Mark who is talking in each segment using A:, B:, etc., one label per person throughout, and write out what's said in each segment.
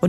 A: och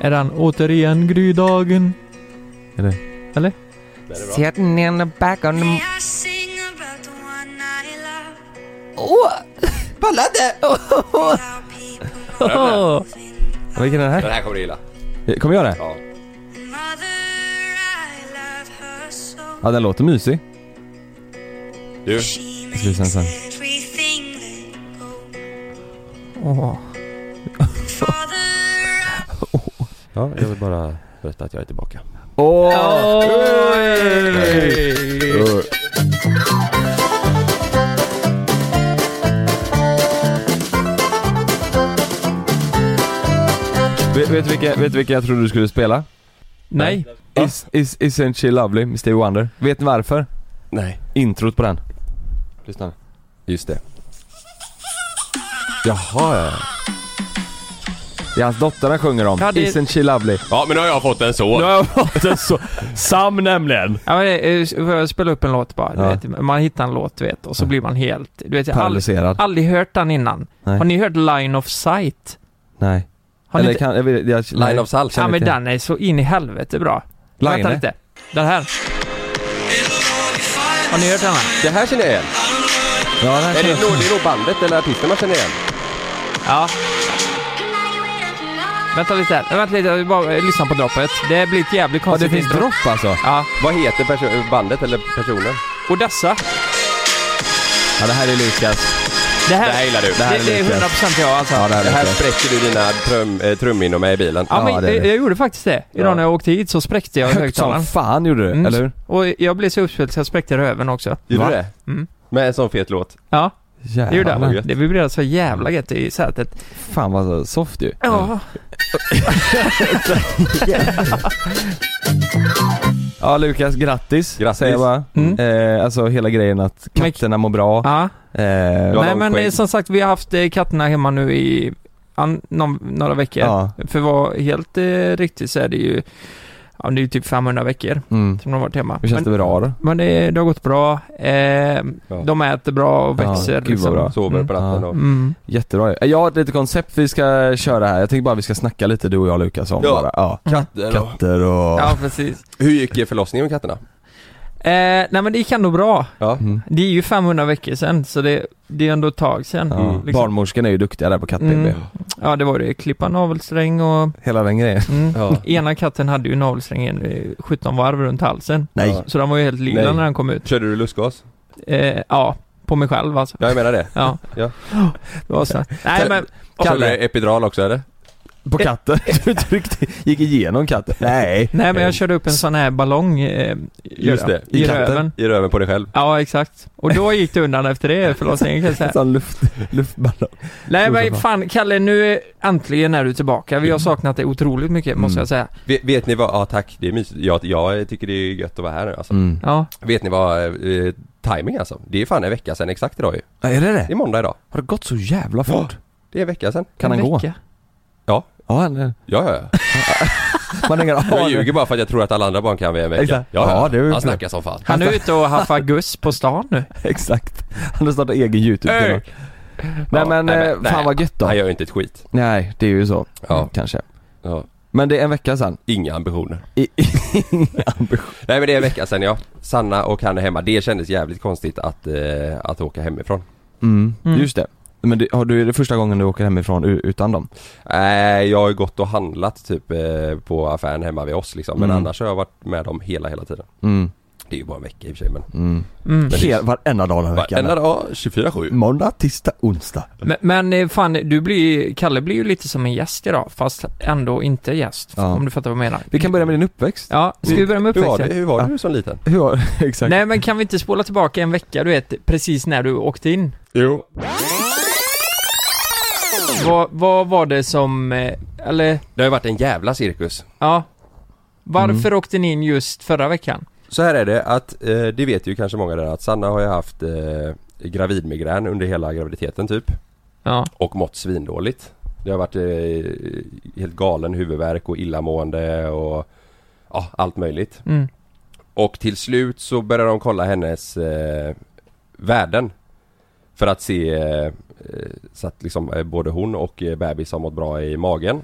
B: Är han återigen grydagen?
C: Eller?
B: Eller?
C: Sitting in the back of the...
B: Åh! Balladen!
C: Åh! Vilken är det
D: Den
C: här?
D: här kommer du gilla.
B: Eh,
C: Kommer jag det?
D: Ja.
C: Ja, den låter mysig.
D: Du,
C: Jag ska lyssna sen.
B: Åh.
D: ja, jag vill bara berätta att jag är tillbaka.
C: Åh! Vet, vet, du vilka, vet du vilka jag trodde du skulle spela?
B: Nej.
C: Is, is, isn't she lovely med Stevie Wonder. Vet ni varför?
D: Nej.
C: Introt på den. Lyssna nu.
D: Just det.
C: Jaha ja. Det är hans dotter han sjunger om.
B: Ja, det-
C: Isn't she lovely?
D: Ja, men nu har jag fått en son.
E: Nu har jag fått en så... Sam nämligen.
B: Ja, men, eh, får jag spela upp en låt bara. Du
C: Ja.
B: vet, man hittar en låt, du vet, och så blir man helt... Du vet, jag har aldrig,
C: Paralyserad.
B: aldrig hört den innan.
C: Nej.
B: Har ni hört Line of Sight?
C: Nej.
B: Har ni
C: Eller
B: inte...
C: kan, jag, vet- jag,
D: Line of Salt.
B: Ja, men
C: till.
B: den är så in i helvete bra.
C: Line,
B: Vänta
C: eh?
B: lite. Den här. Har ni hört den här?
D: Det här känner jag igen.
C: Ja, den här
D: Är det,
C: känner jag-
D: nog- det är nog bandet eller artisten man känner igen.
B: Ja. Vänta lite. här. Vänta lite, jag vill bara eh, lyssna på droppet. Det blir ett jävligt
C: ja,
B: konstigt
C: det finns
B: intro.
C: dropp alltså.
B: Ja.
D: Vad heter perso- bandet eller personen?
B: Och dessa.
C: Ja, det här är Lukas.
B: Det här,
D: Det här gillar du.
C: Det här
B: det, det är
C: Lukas.
B: 100% jag alltså.
C: Ja, det här
D: Det
C: är
D: här
C: Lukas.
D: spräcker du dina trum, eh, trumminnor med i bilen.
B: Ja, men
C: Ja, det är
B: jag,
C: det.
B: jag gjorde faktiskt det. Idag
D: Ja.
B: när jag åkte hit så spräckte jag
C: Högt som
B: högtalaren.
C: fan gjorde du,
B: Mm.
C: eller hur?
B: Och jag blev så uppspelt så jag spräckte röven också.
D: Gjorde
C: Va?
D: du det?
B: Mm.
D: Med en sån fet låt.
B: Ja, det gjorde
C: Jävlar.
B: jag. Det vibrerade så jävla gött i sätet.
C: Fan vad soft ju. Mm.
B: Ja.
C: Ja Lukas, grattis.
D: Grattis.
C: Säger jag bara.
B: Mm.
C: Eh, alltså hela grejen att
B: Men-
C: katterna mår bra.
B: ja.
C: Eh,
D: Du
B: Nej
D: har långt
B: men
D: skägg.
B: eh, som sagt, vi har haft eh, katterna hemma nu i an, någon, några veckor.
C: ja.
B: För att vara helt eh, riktigt så är det ju, ja det är ju typ 500 veckor
C: Mm.
B: som de har varit hemma.
C: Hur känns
B: men
C: det bra då?
B: men det, det har gått bra. Eh,
D: Ja.
B: De äter bra och
C: Ja,
B: växer liksom.
C: gud vad bra.
D: Sover på natten
C: Ja.
D: och...
B: Mm.
C: Jättebra ju. Jag har ett litet koncept vi ska köra här. Jag tänkte bara vi ska snacka lite du och jag Lukas om
D: Ja.
C: bara. Ja.
D: Katter och...
C: Katter och...
B: Mm. Ja, precis.
D: Hur gick förlossningen med katterna?
B: Eh, nej men det gick ändå bra.
D: Ja.
C: Mm.
B: Det är ju 500 veckor sedan, så det, det är ändå ett tag sedan.
C: Ja.
D: Mm.
B: Liksom.
C: Barnmorskan är ju duktiga där på katt
B: Mm. Ja, det var det. Klippa navelsträng och...
C: Hela den grejen.
B: Mm.
D: Ja.
B: Ena katten hade ju navelsträngen eh, 17 varv runt halsen.
C: Nej.
D: Ja.
B: Så den var ju helt lila
D: Nej.
B: när den kom ut.
D: Körde du lustgas?
B: Eh, ja, på mig själv alltså.
D: Ja, jag menar det.
B: Ja.
D: Ja.
B: Det var så. Nej men,
D: Kalle. Körde du epidural också eller?
C: På katten? Du tryckte, gick igenom katten? Nej.
B: nej men jag körde upp en sån här ballong eh,
D: Eh. Just det.
B: i,
C: I katten.
B: röven.
D: I röven på dig själv?
B: Ja, exakt. Och då gick det undan efter det förlossningen kan jag säga.
C: En sån luft, luftballong.
B: Nej men fan Kalle, nu är, äntligen är du tillbaka.
D: Mm.
B: Vi har saknat dig otroligt mycket måste
C: Mm.
B: jag säga.
D: Vet, vet ni vad, ja tack, det är mysigt. Jag, jag tycker det är gött att vara här nu alltså.
C: Mm.
B: Ja.
D: Vet ni vad, eh, timing alltså. Det är fan en vecka sedan exakt idag ju.
C: Ja, är det
D: Det är
C: det?
D: måndag idag.
C: Har det gått så jävla fort?
D: Det är en vecka sedan.
C: Kan
B: En
C: han gå?
B: vecka.
C: Ja, eller?
D: Ja, ja, ja.
C: Man har ingen
D: Jag
C: aning.
D: ljuger bara för att jag tror att alla andra barn kan vara en vecka.
C: Exakt.
D: Ja,
C: Ja,
D: ja.
C: det är ju
D: Han
C: klart.
D: snackar som fan.
B: Han är ute och haffar guss på stan nu.
C: Exakt. Han har startat egen
B: Öh.
C: YouTube-kanal. Nej
D: Ja,
C: men,
D: nej, men,
C: eh,
D: nej.
C: fan vad gött då.
D: Han gör ju inte ett skit.
C: Nej, det är ju så.
D: Ja.
C: Kanske.
D: Ja.
C: Men det är en vecka sedan.
D: Inga ambitioner.
C: I, inga ambitioner.
D: Nej men det är en vecka sedan ja. Sanna och han är hemma. Det kändes jävligt konstigt att, eh, att åka hemifrån.
C: Mm.
B: Mm.
C: Just det. Men det, har du, är det första gången du åker hemifrån u- utan dem?
D: Nej, jag har ju gått och handlat typ eh, på affären hemma vid oss liksom. Men
C: Mm.
D: annars har jag varit med dem hela, hela tiden.
C: Mm,
D: Det är ju bara en vecka i och för sig men.
C: mm.
B: Mm.
D: det-
C: Hel, varenda dag den här veckan.
D: Varenda dag, 24-7.
C: Måndag, tisdag, onsdag.
B: Men, men eh, fan, du blir, Kalle blir ju lite som en gäst idag, fast ändå inte gäst.
C: Ja.
B: Om du fattar vad jag menar.
C: Vi kan börja med din uppväxt.
B: Ja, ska vi börja med
D: Hur var det,
B: uppväxten?
D: hur var
C: Ja.
D: du som liten?
C: Hur var Exakt.
B: Nej men kan vi inte spola tillbaka en vecka, du vet, precis när du åkte in?
D: Jo.
B: Vad, vad var det som, eh, eller,
D: Det har ju varit en jävla cirkus.
B: ja. Varför åkte ni in just förra veckan?
D: Så här är det att, eh, det vet ju kanske många där att Sanna har ju haft eh, gravidmigrän under hela graviditeten typ.
B: Ja.
D: Och mått svindåligt. Det har varit eh, helt galen huvudvärk och illamående och ja, allt möjligt.
B: Mm.
D: Och till slut så började de kolla hennes eh, värden. För att se eh, eh, så att liksom eh, både hon och eh, bebis har mått bra i magen.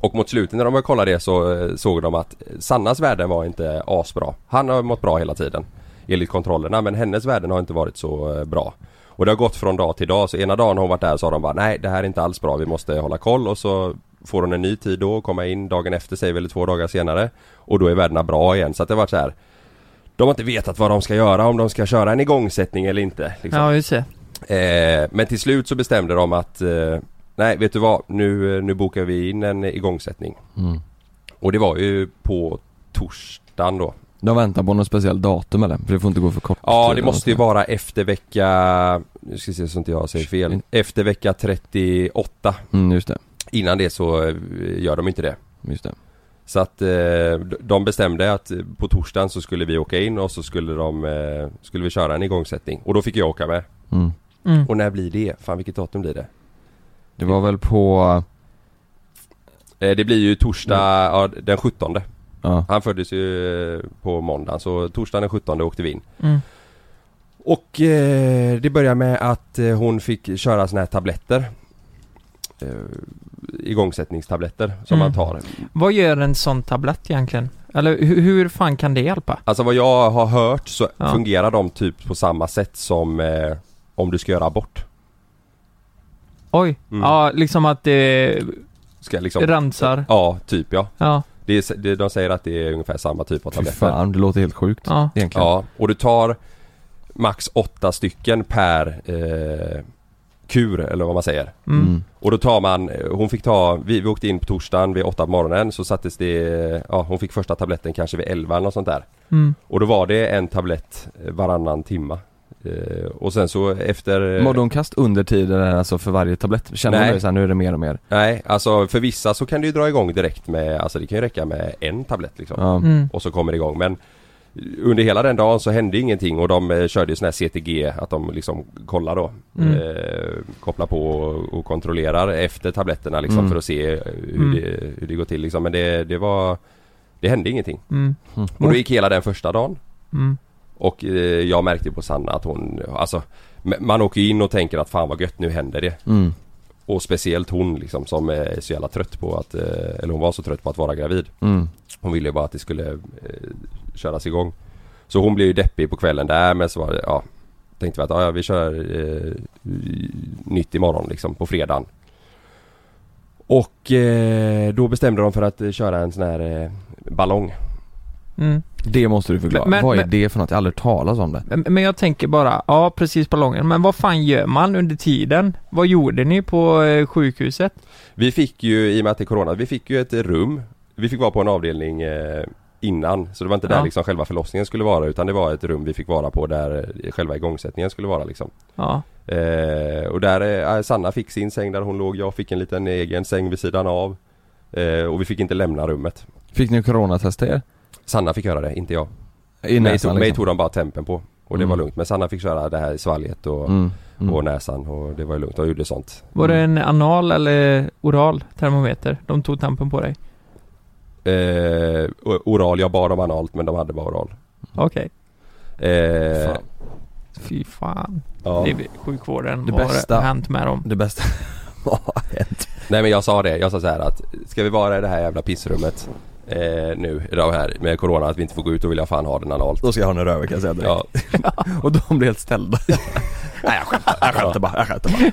D: Och mot slutet när de började kolla det så eh, såg de att Sannas värden var inte asbra. Han har mått bra hela tiden. Enligt kontrollerna men hennes värden har inte varit så eh, bra. Och det har gått från dag till dag så ena dagen har hon varit där så har de bara nej det här är inte alls bra vi måste hålla koll och så Får hon en ny tid då och komma in dagen efter sig eller två dagar senare Och då är värdena bra igen så att det har varit så här De har inte vetat vad de ska göra om de ska köra en igångsättning eller inte liksom.
B: Ja, just det.
D: Eh, men till slut så bestämde de att eh, Nej vet du vad nu, eh, nu bokar vi in en igångsättning
C: Mm.
D: Och det var ju på torsdagen då
C: De väntar på något speciellt datum eller? För det får inte gå för kort
D: eh, Ja
C: tid
D: det
C: eller
D: måste ju
C: något.
D: vara efter vecka Nu ska vi se så inte jag säger fel Efter vecka 38
C: Mm, just det.
D: Innan det så eh, gör de inte det
C: Just det.
D: Så att eh, de bestämde att eh, på torsdagen så skulle vi åka in och så skulle de eh, Skulle vi köra en igångsättning och då fick jag åka med
C: Mm.
B: Mm.
D: Och när blir det? Fan vilket datum blir det?
C: Det var väl på...
D: Eh, det blir ju torsdag ja, den 17
C: Ja.
D: Han föddes ju eh, på måndagen så torsdagen den 17 åkte vi in
B: Mm.
D: Och eh, det börjar med att eh, hon fick köra såna här tabletter eh, Igångsättningstabletter som
B: Mm.
D: man tar
B: Vad gör en sån tablett egentligen? Eller hur, hur fan kan det hjälpa?
D: Alltså vad jag har hört så
B: Ja.
D: fungerar de typ på samma sätt som eh, om du ska göra abort
B: Oj,
D: Mm.
B: ja liksom att det
D: Ska liksom
B: rensar.
D: Ja, typ ja
B: Ja,
D: det är, det, De säger att det är ungefär samma typ av
C: Fy
D: tabletter
C: fan, det låter helt sjukt.
B: ja.
C: Egentligen.
D: Ja, och du tar max åtta stycken per eh, kur eller vad man säger.
B: Mm.
C: Mm.
D: Och då tar man, eh, hon fick ta, vi, vi åkte in på torsdagen vid åtta på morgonen så sattes det, eh, ja hon fick första tabletten kanske vid elva eller något sånt där.
B: Mm.
D: Och då var det en tablett varannan timma. Eh, och sen så efter... eh,
C: Mådde hon kast Mm. under tiden alltså för varje tablett? Kände
D: Nej.
C: hon det så här, nu är det mer och mer?
D: Nej, alltså för vissa så kan det ju dra igång direkt med, alltså det kan ju räcka med en tablett liksom.
C: Ja.
B: Mm.
D: och så kommer det igång men under hela den dagen så hände ingenting och de eh, körde ju sån här CTG att de liksom kollar då
B: Mm.
D: eh, Kopplar på och, och kontrollerar efter tabletterna liksom
C: Mm.
D: för att se eh, hur,
B: Mm.
D: det, hur det går till liksom men det, det var Det hände ingenting
B: Mm.
D: och då gick hela den första dagen
B: Mm.
D: och eh, jag märkte på Sanna att hon alltså m- Man åker ju in och tänker att fan vad gött nu händer det
C: Mm.
D: Och speciellt hon liksom som är så jävla trött på att eh, Eller hon var så trött på att vara gravid
C: Mm.
D: hon ville ju bara att det skulle eh, köras igång. Så hon blev ju deppig på kvällen där men så var det, ja Tänkte vi att ja, ja, vi kör eh, nytt imorgon liksom på fredagen. Och eh, då bestämde de för att eh, köra en sån här eh, ballong.
B: Mm.
C: Det måste du förklara.
B: Men- men-
C: Vad är
B: men-
C: det för något? Jag har aldrig hört talas om det.
B: Men- Men jag tänker bara, ja precis ballongen, men vad fan gör man under tiden? Vad gjorde ni på eh, sjukhuset?
D: Vi fick ju, i och med att det är corona, vi fick ju ett rum. Vi fick vara på en avdelning eh, innan. Så det var inte
B: Ja.
D: där liksom själva förlossningen skulle vara utan det var ett rum vi fick vara på där eh, själva igångsättningen skulle vara liksom.
B: Ja,
D: Eh, och där, eh, Sanna fick sin säng där hon låg, jag fick en liten egen säng vid sidan av. Eh, och vi fick inte lämna rummet.
C: Fick ni coronatesta er?
D: Sanna fick göra det, inte jag.
C: I
D: mig, tog,
C: näsan
D: mig
C: liksom?
D: tog de bara tempen på. Och det
C: Mm.
D: var lugnt. Men Sanna fick köra det här i svalget och,
C: Mm. Mm.
D: och näsan och det var ju lugnt. De gjorde sånt.
B: var det en anal eller oral termometer? De tog tampen på dig?
D: Eh, o- oral, jag bad om analt men de hade bara oral.
B: Okej.
D: Eh,
C: Fan.
B: Fy fan.
D: ja.
B: Det är sjukvården.
C: Det
B: Vad
C: bästa.
B: har hänt med dem?
C: Det bästa Vad har hänt?
D: Nej men jag sa det, jag sa så här att ska vi vara i det här jävla pissrummet eh, nu, idag här med corona, att vi inte får gå ut och vill jag fan ha den analt.
C: Då ska jag ha en röver kan jag säga direkt.
D: Ja,
C: Och de blir helt ställda. Nej jag skämtar, jag skämtar bara, jag skämtar bara.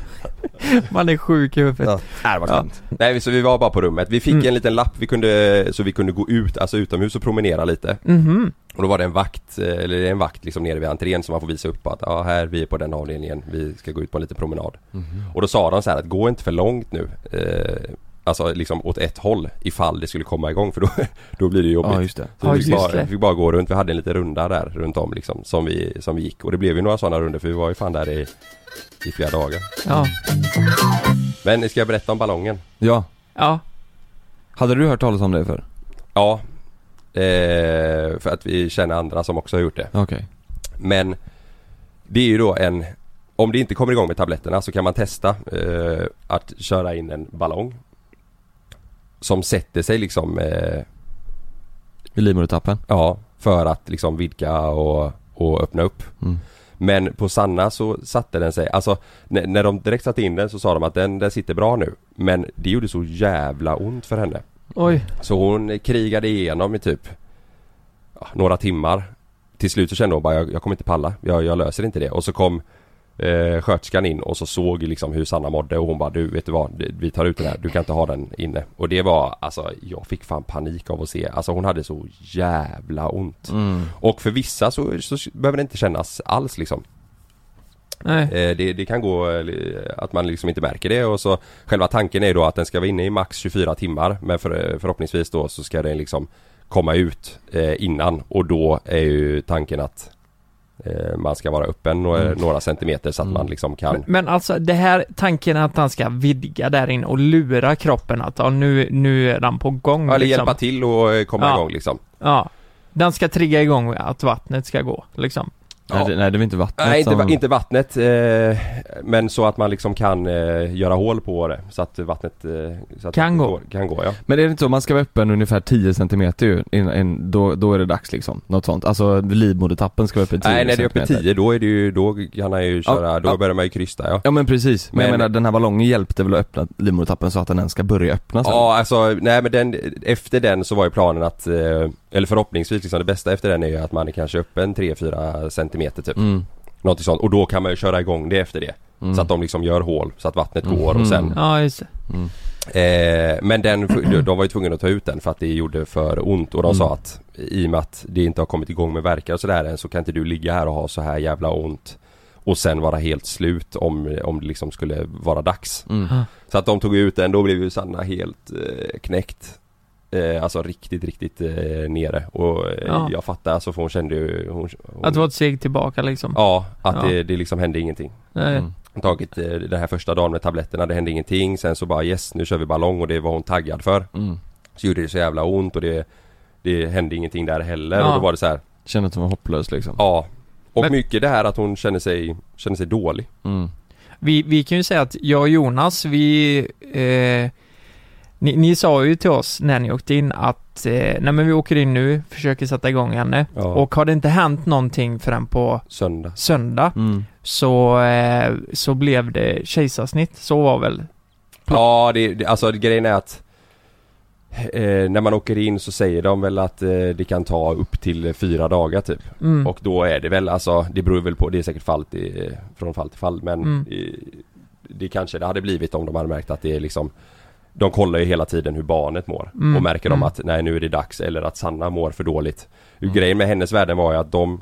B: Man är sjuk i huvudet.
F: Ja. Nej, det var
B: Ja.
F: skönt.
D: Nej så vi var bara på rummet. Vi fick
B: Mm.
D: en liten lapp vi kunde, så vi kunde gå ut, alltså utomhus och promenera lite.
B: Mhm.
D: Och då var det en vakt, eh, eller det är en vakt liksom nere vid entrén som man får visa upp att ja här, vi är på den avdelningen, vi ska gå ut på en liten promenad.
F: Mhm.
D: Och då sa de så här att gå inte för långt nu. Eh, alltså liksom åt ett håll ifall det skulle komma igång för då, då blir det jobbigt.
C: Ja just det.
D: Så
B: Ja,
D: vi, fick
B: just
D: bara,
B: det.
D: vi fick bara gå runt, vi hade en liten runda där runt om liksom som vi, som vi gick och det blev ju några sådana runder för vi var ju fan där i, i flera dagar.
B: Ja.
D: Men ska jag berätta om ballongen?
C: Ja.
B: Ja.
C: Hade du hört talas om det för?
D: Ja eh, För att vi känner andra som också har gjort det
C: Okej.
D: Men Det är ju då en Om det inte kommer igång med tabletterna så kan man testa eh, Att köra in en ballong Som sätter sig liksom eh,
C: I livmodertappen?
D: Ja För att liksom vidga och, och öppna upp
C: Mm.
D: Men på Sanna så satte den sig, alltså när, när de direkt satte in den så sa de att den, den sitter bra nu Men det gjorde så jävla ont för henne
B: Oj.
D: Så hon krigade igenom i typ ja, några timmar. Till slut så kände hon bara jag, jag kommer inte palla, jag, jag löser inte det. Och så kom eh, sköterskan in och så såg liksom hur Sanna mådde och hon bara du vet du vad, det- vi tar ut den här, du kan inte ha den inne. Och det var alltså, jag fick fan panik av att se, alltså hon hade så jävla ont. Och för vissa så, så behöver det inte kännas alls liksom.
B: Nej.
D: Eh, det, det kan gå eh, att man liksom inte märker det och så Själva tanken är då att den ska vara inne i max 24 timmar men för, eh, förhoppningsvis då så ska den liksom Komma ut eh, innan och då är ju tanken att eh, Man ska vara öppen några, några centimeter så att man liksom kan
B: Mm. Men, men alltså det här tanken att han ska vidga där inne och lura kroppen att ja, nu, nu är den på gång.
D: Eller
B: liksom.
D: hjälpa till och eh, komma
B: Ja.
D: igång liksom
B: Ja. Den ska trigga igång att vattnet ska gå liksom.
D: Ja.
C: Nej, det, nej det var inte vattnet
D: Nej inte,
C: som...
D: va- inte vattnet eh, Men så att man liksom kan eh, göra hål på det så att vattnet eh, så att
B: Kan
D: det
B: gå.
D: går- Kan gå ja
C: Men är det inte så, man ska vara öppen ungefär 10 cm ju, innan, in, då, då är det dags liksom? Något sånt, alltså livmodertappen ska vara öppen 10
D: Nej när det är uppe
C: centimeter.
D: 10 då är det ju, då kan han ju köra, då
C: ja.
D: börjar man ju krysta ja
C: Ja men precis, men,
D: Men-
C: jag menar den här ballongen hjälpte väl att öppna livmodertappen så att den ens ska börja öppna sen?
D: Ja alltså, nej men den, efter den så var ju planen att, eh, eller förhoppningsvis liksom det bästa efter den är ju att man är kanske öppen 3-4 centimeter typ.
C: Mm.
D: Någonting sånt. Och då kan man ju köra igång det efter det.
C: Mm.
D: Så att de liksom gör hål så att vattnet går
C: Mhm.
D: och sen
B: Ja, just det.
D: eh, Men den, de var ju tvungna att ta ut den för att det gjorde för ont och de
C: Mm.
D: sa att I och med att det inte har kommit igång med verkar och sådär än så kan inte du ligga här och ha så här jävla ont Och sen vara helt slut om, om det liksom skulle vara dags
C: Mm.
B: Ah.
D: så att de tog ut den, då blev ju Sanna helt eh, knäckt eh, Alltså riktigt, riktigt eh, nere och eh,
B: Ja.
D: jag fattar alltså för hon kände ju hon, hon,
B: Att det var ett steg tillbaka liksom. Eh,
D: Ja, att
B: Ja.
D: Det, det liksom hände ingenting
B: Nej.
C: Mm.
D: Hon tagit eh, den här första dagen med tabletterna, det hände ingenting Sen så bara yes, nu kör vi ballong och det var hon taggad för
C: Mm.
D: Så gjorde det så jävla ont och det Det hände ingenting där heller
B: Ja.
D: och då var det så här,
C: Kände att den var hopplös liksom?
D: ja Och
B: Men-
D: mycket det här att hon kände sig, kände sig dålig
C: Mm.
B: Vi, vi kan ju säga att jag och Jonas, vi... Eh, ni, ni sa ju till oss när ni åkte in att eh, nej men vi åker in nu, försöker sätta igång henne.
D: Ja.
B: Och har det inte hänt någonting förrän på
D: Söndag
B: söndag
C: Mm.
B: så, eh, så blev det kejsarsnitt. Så var väl
D: Ja, det, det, alltså det- grejen är att eh, när man åker in så säger de väl att eh, det kan ta upp till eh, fyra dagar typ.
B: Mm.
D: Och då är det väl alltså, det beror väl på, det är säkert fall till, eh, från fall till fall men
B: Mm.
D: eh, det kanske det hade blivit om de hade märkt att det är liksom de kollar ju hela tiden hur barnet mår
B: Mm,
D: och märker
B: mm.
D: de att nej nu är det dags eller att Sanna mår för dåligt. Grejen med hennes värden var ju att de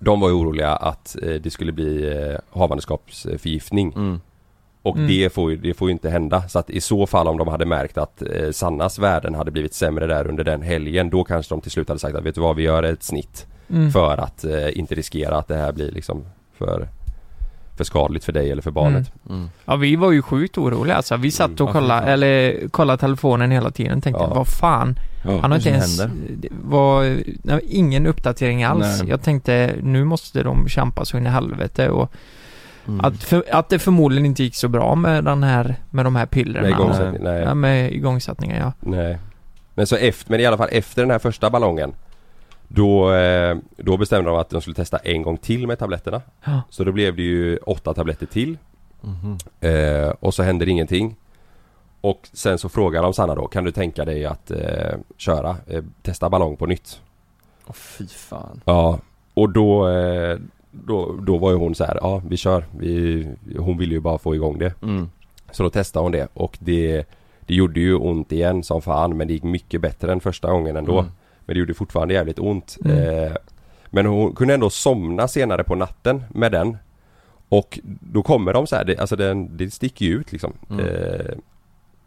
D: De var ju oroliga att eh, det skulle bli eh, havandeskapsförgiftning
C: Mm.
D: och
B: Mm.
D: det, får ju, det får ju inte hända. Så att i så fall om de hade märkt att eh, Sannas värden hade blivit sämre där under den helgen, då kanske de till slut hade sagt att vet du vad, vi gör ett snitt
B: Mm.
D: för att eh, inte riskera att det här blir liksom för, för skadligt för dig eller för barnet.
C: Mm.
B: Ja, vi var ju sjukt oroliga alltså. Vi satt
D: Mm,
B: och
C: ja, fy
B: kollade,
C: fan.
B: eller kollade telefonen hela tiden tänkte
D: Ja.
B: vad fan, han har inte ens, det var, nej, ingen uppdatering alls.
C: Nej.
B: Jag tänkte nu måste de kämpa så in i helvete och
C: Mm.
B: att, för, att det förmodligen inte gick så bra med den här, med de här
D: Med
B: pillerna.
C: igångsätt-
D: igångsättning, nej.
B: ja, med igångsättningen ja.
D: nej. Men så efter, men i alla fall efter den här första ballongen då, eh, då bestämde de att de skulle testa en gång till med tabletterna.
B: Ja.
D: Så då blev det ju åtta tabletter till.
C: Mhm.
D: Eh, och så händer ingenting. Och sen så frågar de Sanna då, kan du tänka dig att eh, köra, eh, testa ballong på nytt?
C: Åh, fy fan.
D: Ja. Och då, eh, då, då var ju hon så här, ja vi kör. Vi, hon ville ju bara få igång det.
C: Mm.
D: Så då testade hon det och det, det gjorde ju ont igen som fan men det gick mycket bättre än första gången ändå.
C: Mm.
D: Men det gjorde fortfarande jävligt ont.
B: Mm.
D: Eh, men hon kunde ändå somna senare på natten med den. Och då kommer de så här, det, alltså den, det sticker ju ut liksom.
C: Mm.
D: Eh,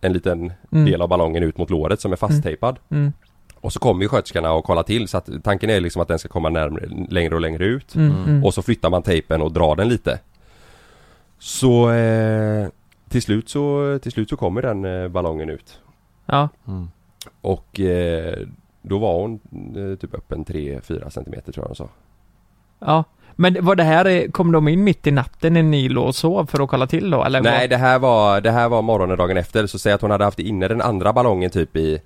D: en liten
B: Mm.
D: del av ballongen ut mot låret som är fasttejpad.
B: Mm.
D: Och så kommer ju sköterskorna och kollar till så att tanken är liksom att den ska komma närmre, längre och längre ut.
B: Mm.
C: Mm.
B: Mm.
D: Och så flyttar man tejpen och drar den lite. Så eh, till, slut så till slut så kommer den eh, ballongen ut.
B: Ja.
C: Mm.
D: Och eh, då var hon eh, typ öppen 3-4 centimeter tror jag hon sa.
B: Ja. Men var det här, eh, kom de in mitt i natten när ni låg och sov för att kolla till då eller?
D: Nej det här var, det här var morgonen dagen efter så säg att hon hade haft inne den andra ballongen typ i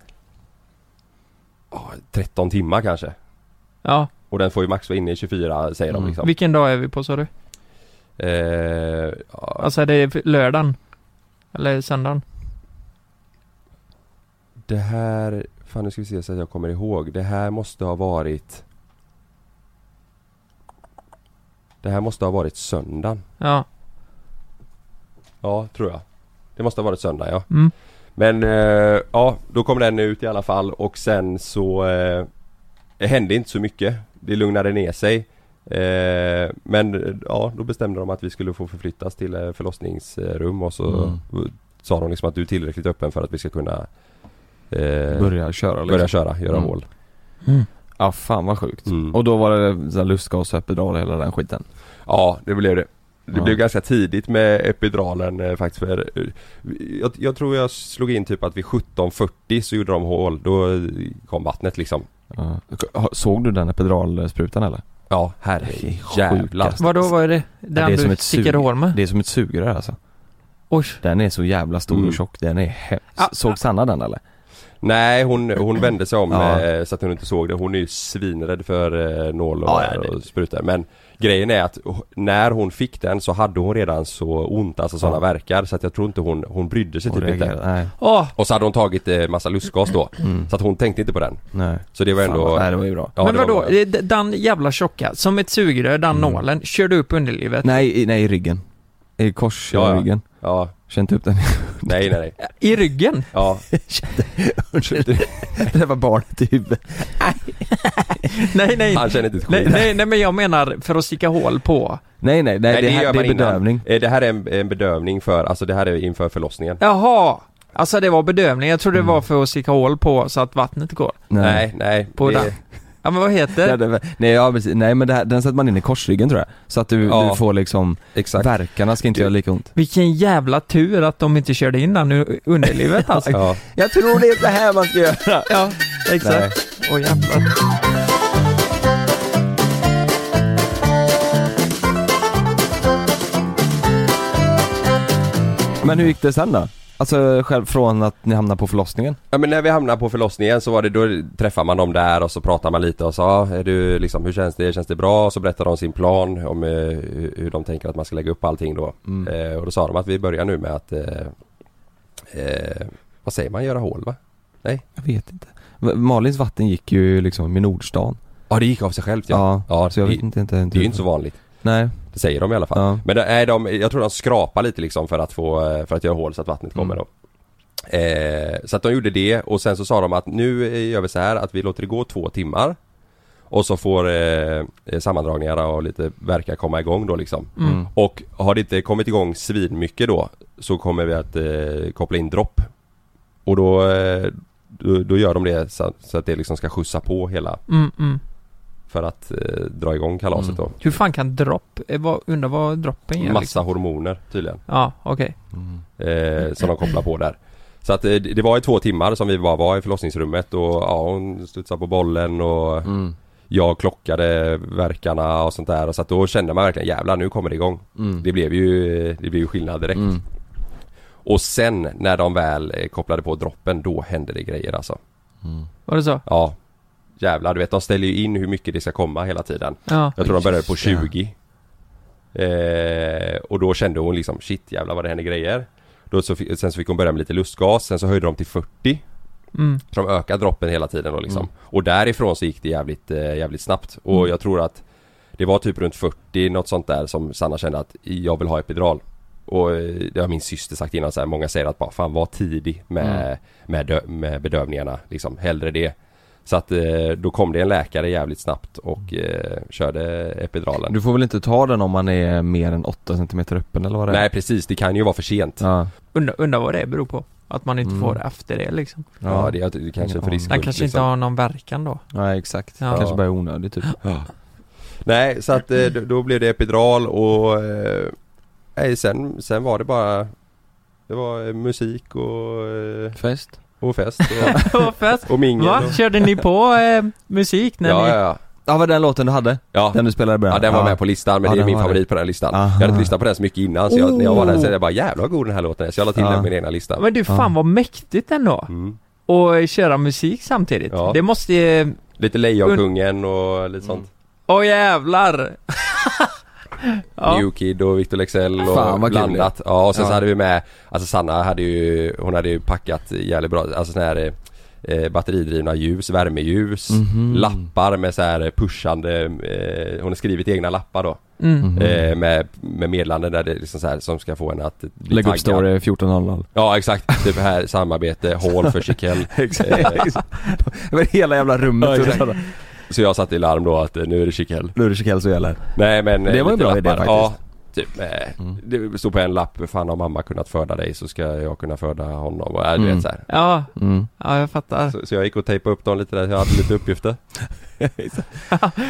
D: ja, 13 timmar kanske.
B: Ja.
D: Och den får ju max vara inne i 24 säger de
C: Mm.
D: liksom.
B: Vilken dag är vi på sa du?
D: Eh, ja,
B: Alltså är det lördagen? Eller söndagen?
D: det här, fan nu ska vi se så att jag kommer ihåg. Det här måste ha varit Det här måste ha varit söndagen.
B: Ja.
D: Ja, tror jag. Det måste ha varit söndag ja.
B: Mm.
D: Men eh, ja, då kom den ut i alla fall och sen så eh, Det hände inte så mycket. Det lugnade ner sig. Eh, men eh, ja, då bestämde de att vi skulle få förflyttas till eh, förlossningsrum och så sa de liksom att du är tillräckligt öppen för att vi ska kunna eh, börja,
C: Börja köra liksom.
D: köra, göra
C: Mm.
D: hål.
C: Ja fan vad sjukt.
D: Mm.
C: Och då var det så här lustgas och epidural och hela den skiten.
D: Ja, det blev det. Det
C: Ja.
D: blev ganska tidigt med epiduralen eh, faktiskt för eh, jag, jag tror jag slog in typ att vid 17.40 så gjorde de hål, då eh, kom vattnet liksom.
C: Ja. Ha- Såg du den epiduralsprutan eller?
D: Ja,
C: Det är
D: herre
C: sjukt,
D: jävlar.
C: alltså.
B: Vadå, vad är det? Den
C: det är som
B: du
C: ett sug.
B: stickade hål med?
C: Det är som ett sugrör alltså.
B: Oj.
C: Den är så jävla stor
D: Mm.
C: och tjock, den är he-
B: Ah, ah.
C: Såg Sanna den eller?
D: Nej hon, hon vände sig om
C: Ja.
D: eh, så att hon inte såg det. Hon är ju svinrädd för eh, nål och,
C: Ja, ja, det-
D: och sprutor. Men grejen är att h- när hon fick den så hade hon redan så ont, alltså sådana
C: Ja.
D: verkar Så att jag tror inte hon, hon brydde sig
C: Och
D: typ inte.
C: reagerade. Nej,
B: Åh!
D: Och så hade hon tagit eh, massa lustgas då.
C: Mm.
D: Så att hon tänkte inte på den.
C: nej.
D: Så det var
C: Fan,
D: ändå...
C: vad- Nej det var ju bra.
D: ja,
B: men
D: det var
B: vadå,
D: bra.
B: Eh, d- den jävla tjocka, som ett sugrör, den
C: Mm.
B: nålen, körde upp underlivet.
C: Nej, i, nej i ryggen. I kors
D: Ja, ja.
C: i ryggen.
D: Ja,
C: Känn inte upp den.
D: nej nej nej.
B: I ryggen?
D: Ja.
C: det var barnet i huvudet.
B: nej, nej.
D: Han känner inte ett Alltså, skit.
B: Nej, nej, nej, men jag menar för att sticka hål på.
C: Nej nej, nej, det, här, det är
D: innan.
C: bedövning.
D: Eh, Det här är en, en bedövning för, alltså det här är inför förlossningen.
B: Jaha! Alltså det var bedövning, jag trodde det
D: Mm.
B: var för att sticka hål på så att vattnet går.
D: Nej, nej.
B: På
D: det-
B: den. Ja men vad heter
C: Ja, det, nej, ja, precis. nej men det här, den sätter man in i korsryggen tror jag. Så att du,
D: Ja.
C: du får liksom,
D: Exakt.
C: verkarna ska inte
D: Du-
C: göra lika ont.
B: Vilken jävla tur att de inte körde in den i underlivet alltså.
D: Ja.
C: Jag tror det är det här man ska göra.
B: ja, exakt. Åh jävlar.
C: Men hur gick det sen då? Alltså själv från att ni hamnade på förlossningen?
D: Ja men när vi hamnade på förlossningen så var det då träffar man dem där och så pratar man lite och sa är du liksom hur känns det, känns det bra? Och så berättar de sin plan om eh, hur- hur de tänker att man ska lägga upp allting då. Eh, och då sa de att vi börjar nu med att eh, eh, vad säger man, göra hål va?
C: Jag vet inte. V- Malins vatten gick ju liksom i Nordstan.
D: Ja det gick av sig självt ja.
C: Ja,
D: ja
C: så jag
D: det,
C: vet inte, inte,
D: det är ju inte så vanligt.
C: Nej,
D: Det säger de i alla fall.
C: ja.
D: Men det- nej, de, jag tror de skrapar lite liksom för att få, eh, för att göra hål så att vattnet kommer
C: Mm.
D: då. Eh, så att de gjorde det och sen så sa de att nu eh, gör vi så här att vi låter det gå två timmar Och så får eh, eh, sammandragningar och lite verkar komma igång då liksom
C: Mm.
D: Och har det inte kommit igång svinmycket då Så kommer vi att eh, koppla in dropp Och då, eh, då, då gör de det så, att- så att det liksom ska skjutsa på hela
B: Mm, mm.
D: För att eh, dra igång
C: Mm.
D: kalaset då
B: Hur fan kan dropp, eh, vad, undrar vad droppen gör
D: Massa
B: liksom.
D: hormoner tydligen
B: Ja, okej.
D: eh, som de kopplar på där. Så att eh, det det var i två timmar som vi bara var i förlossningsrummet och ja, hon studsade på bollen och
C: Mm.
D: jag klockade verkarna och sånt där. Så att då kände man verkligen jävlar nu kommer det igång.
C: Mm.
D: Det blev ju, det blev ju skillnad direkt.
C: Mm.
D: Och sen när de väl eh, kopplade på droppen då hände det grejer alltså.
B: Var det så?
D: Ja. Jävlar du vet de ställer ju in hur mycket det ska komma hela tiden.
B: Ja.
D: Jag tror de började på
C: Just det.
D: 20 eh, Och då kände hon liksom shit jävlar vad det händer grejer då så, fi- Sen så fick hon börja med lite lustgas, sen så höjde de till 40
B: Mm.
D: Så de ökade droppen hela tiden då liksom
C: Mm.
D: Och därifrån så gick det jävligt, eh, jävligt snabbt och jag tror att Det var typ runt 40 något sånt där som Sanna kände att jag vill ha epidural Och eh, det har min syster sagt innan så här, många säger att bara fan var tidig med,
C: Mm.
D: med, dö- med bedövningarna liksom, hellre det. Så att eh, då kom det en läkare jävligt snabbt och eh, körde epiduralen.
C: Du får väl inte ta den om man är mer än 8 cm öppen eller vad det är?
D: Nej precis, det kan ju vara för sent. Ja,
C: Ja,
B: Undrar undra vad det beror på. Att man inte
C: Mm.
B: får det efter det liksom.
C: ja,
D: det, är- det kanske är för
C: Den
D: riskfullt.
B: Den kanske inte
D: liksom.
B: har någon verkan då.
C: ja exakt.
B: Ja.
C: Kanske bara är onödig typ.
D: Nej, så att eh, då- då blev det epidural och eh, nej, sen, sen var det bara Det var eh, musik och, eh,
C: Fest?
D: och fest och,
B: Vad fett!
D: och mingel
B: Va?
D: och,
B: Körde ni på eh, musik när
D: ja,
B: ni...
D: ja, ja.
C: Ja var den låten du hade?
D: Ja.
C: Den du spelade i början?
D: ja, den var med på listan men
C: Ja,
D: det är
C: den
D: min
C: var
D: favorit
C: det.
D: på den här listan
C: Aha.
D: Jag hade inte lyssnat på den så mycket innan så jag, när jag var där så
B: Oh.
D: jag bara jävlar vad god den här låten är så jag la till
C: Ja.
D: den på min egna lista
B: Men du, fan
C: Ja.
B: vad mäktigt ändå!
D: mm.
B: Och köra musik samtidigt.
D: Ja.
B: Det måste ju...
D: Lite Lejonkungen och lite
C: Mm.
D: sånt
B: Åh jävlar! ja.
D: New Kid och Victor Lexell och
C: Fan, vad kul
D: blandat. Ja och sen så
C: Ja.
D: hade vi med, alltså Sanna hade ju, hon hade ju packat jävligt bra, alltså sån här eh, batteridrivna ljus, värmeljus,
C: Mhm.
D: lappar med så här pushande, eh, hon har skrivit egna lappar då.
B: Mm.
C: Mhm.
D: Eh, med, med meddelanden där det är liksom så här som ska få en att bli
C: Lägg upp story 14.00
D: Ja exakt, typ här samarbete, hall för Chiquel.
C: Över hela jävla rummet
E: exakt.
C: och
D: Så jag satte i larm då att eh, nu är det Chiquel.
C: Nu är det Chiquel som gäller
D: Nej men
C: Det
D: eh,
C: var en
D: lite
C: bra idé
D: Ja,
C: faktiskt. Mm.
D: typ eh, Det stod på en lapp, fan har mamma kunnat föda dig så ska jag kunna föda honom och äh, du
C: Mm.
D: vet så, här.
B: Ja,
C: Mm.
B: ja jag fattar.
D: Så, så jag gick och tejpade upp dem lite där, jag hade lite uppgifter
C: Men
B: du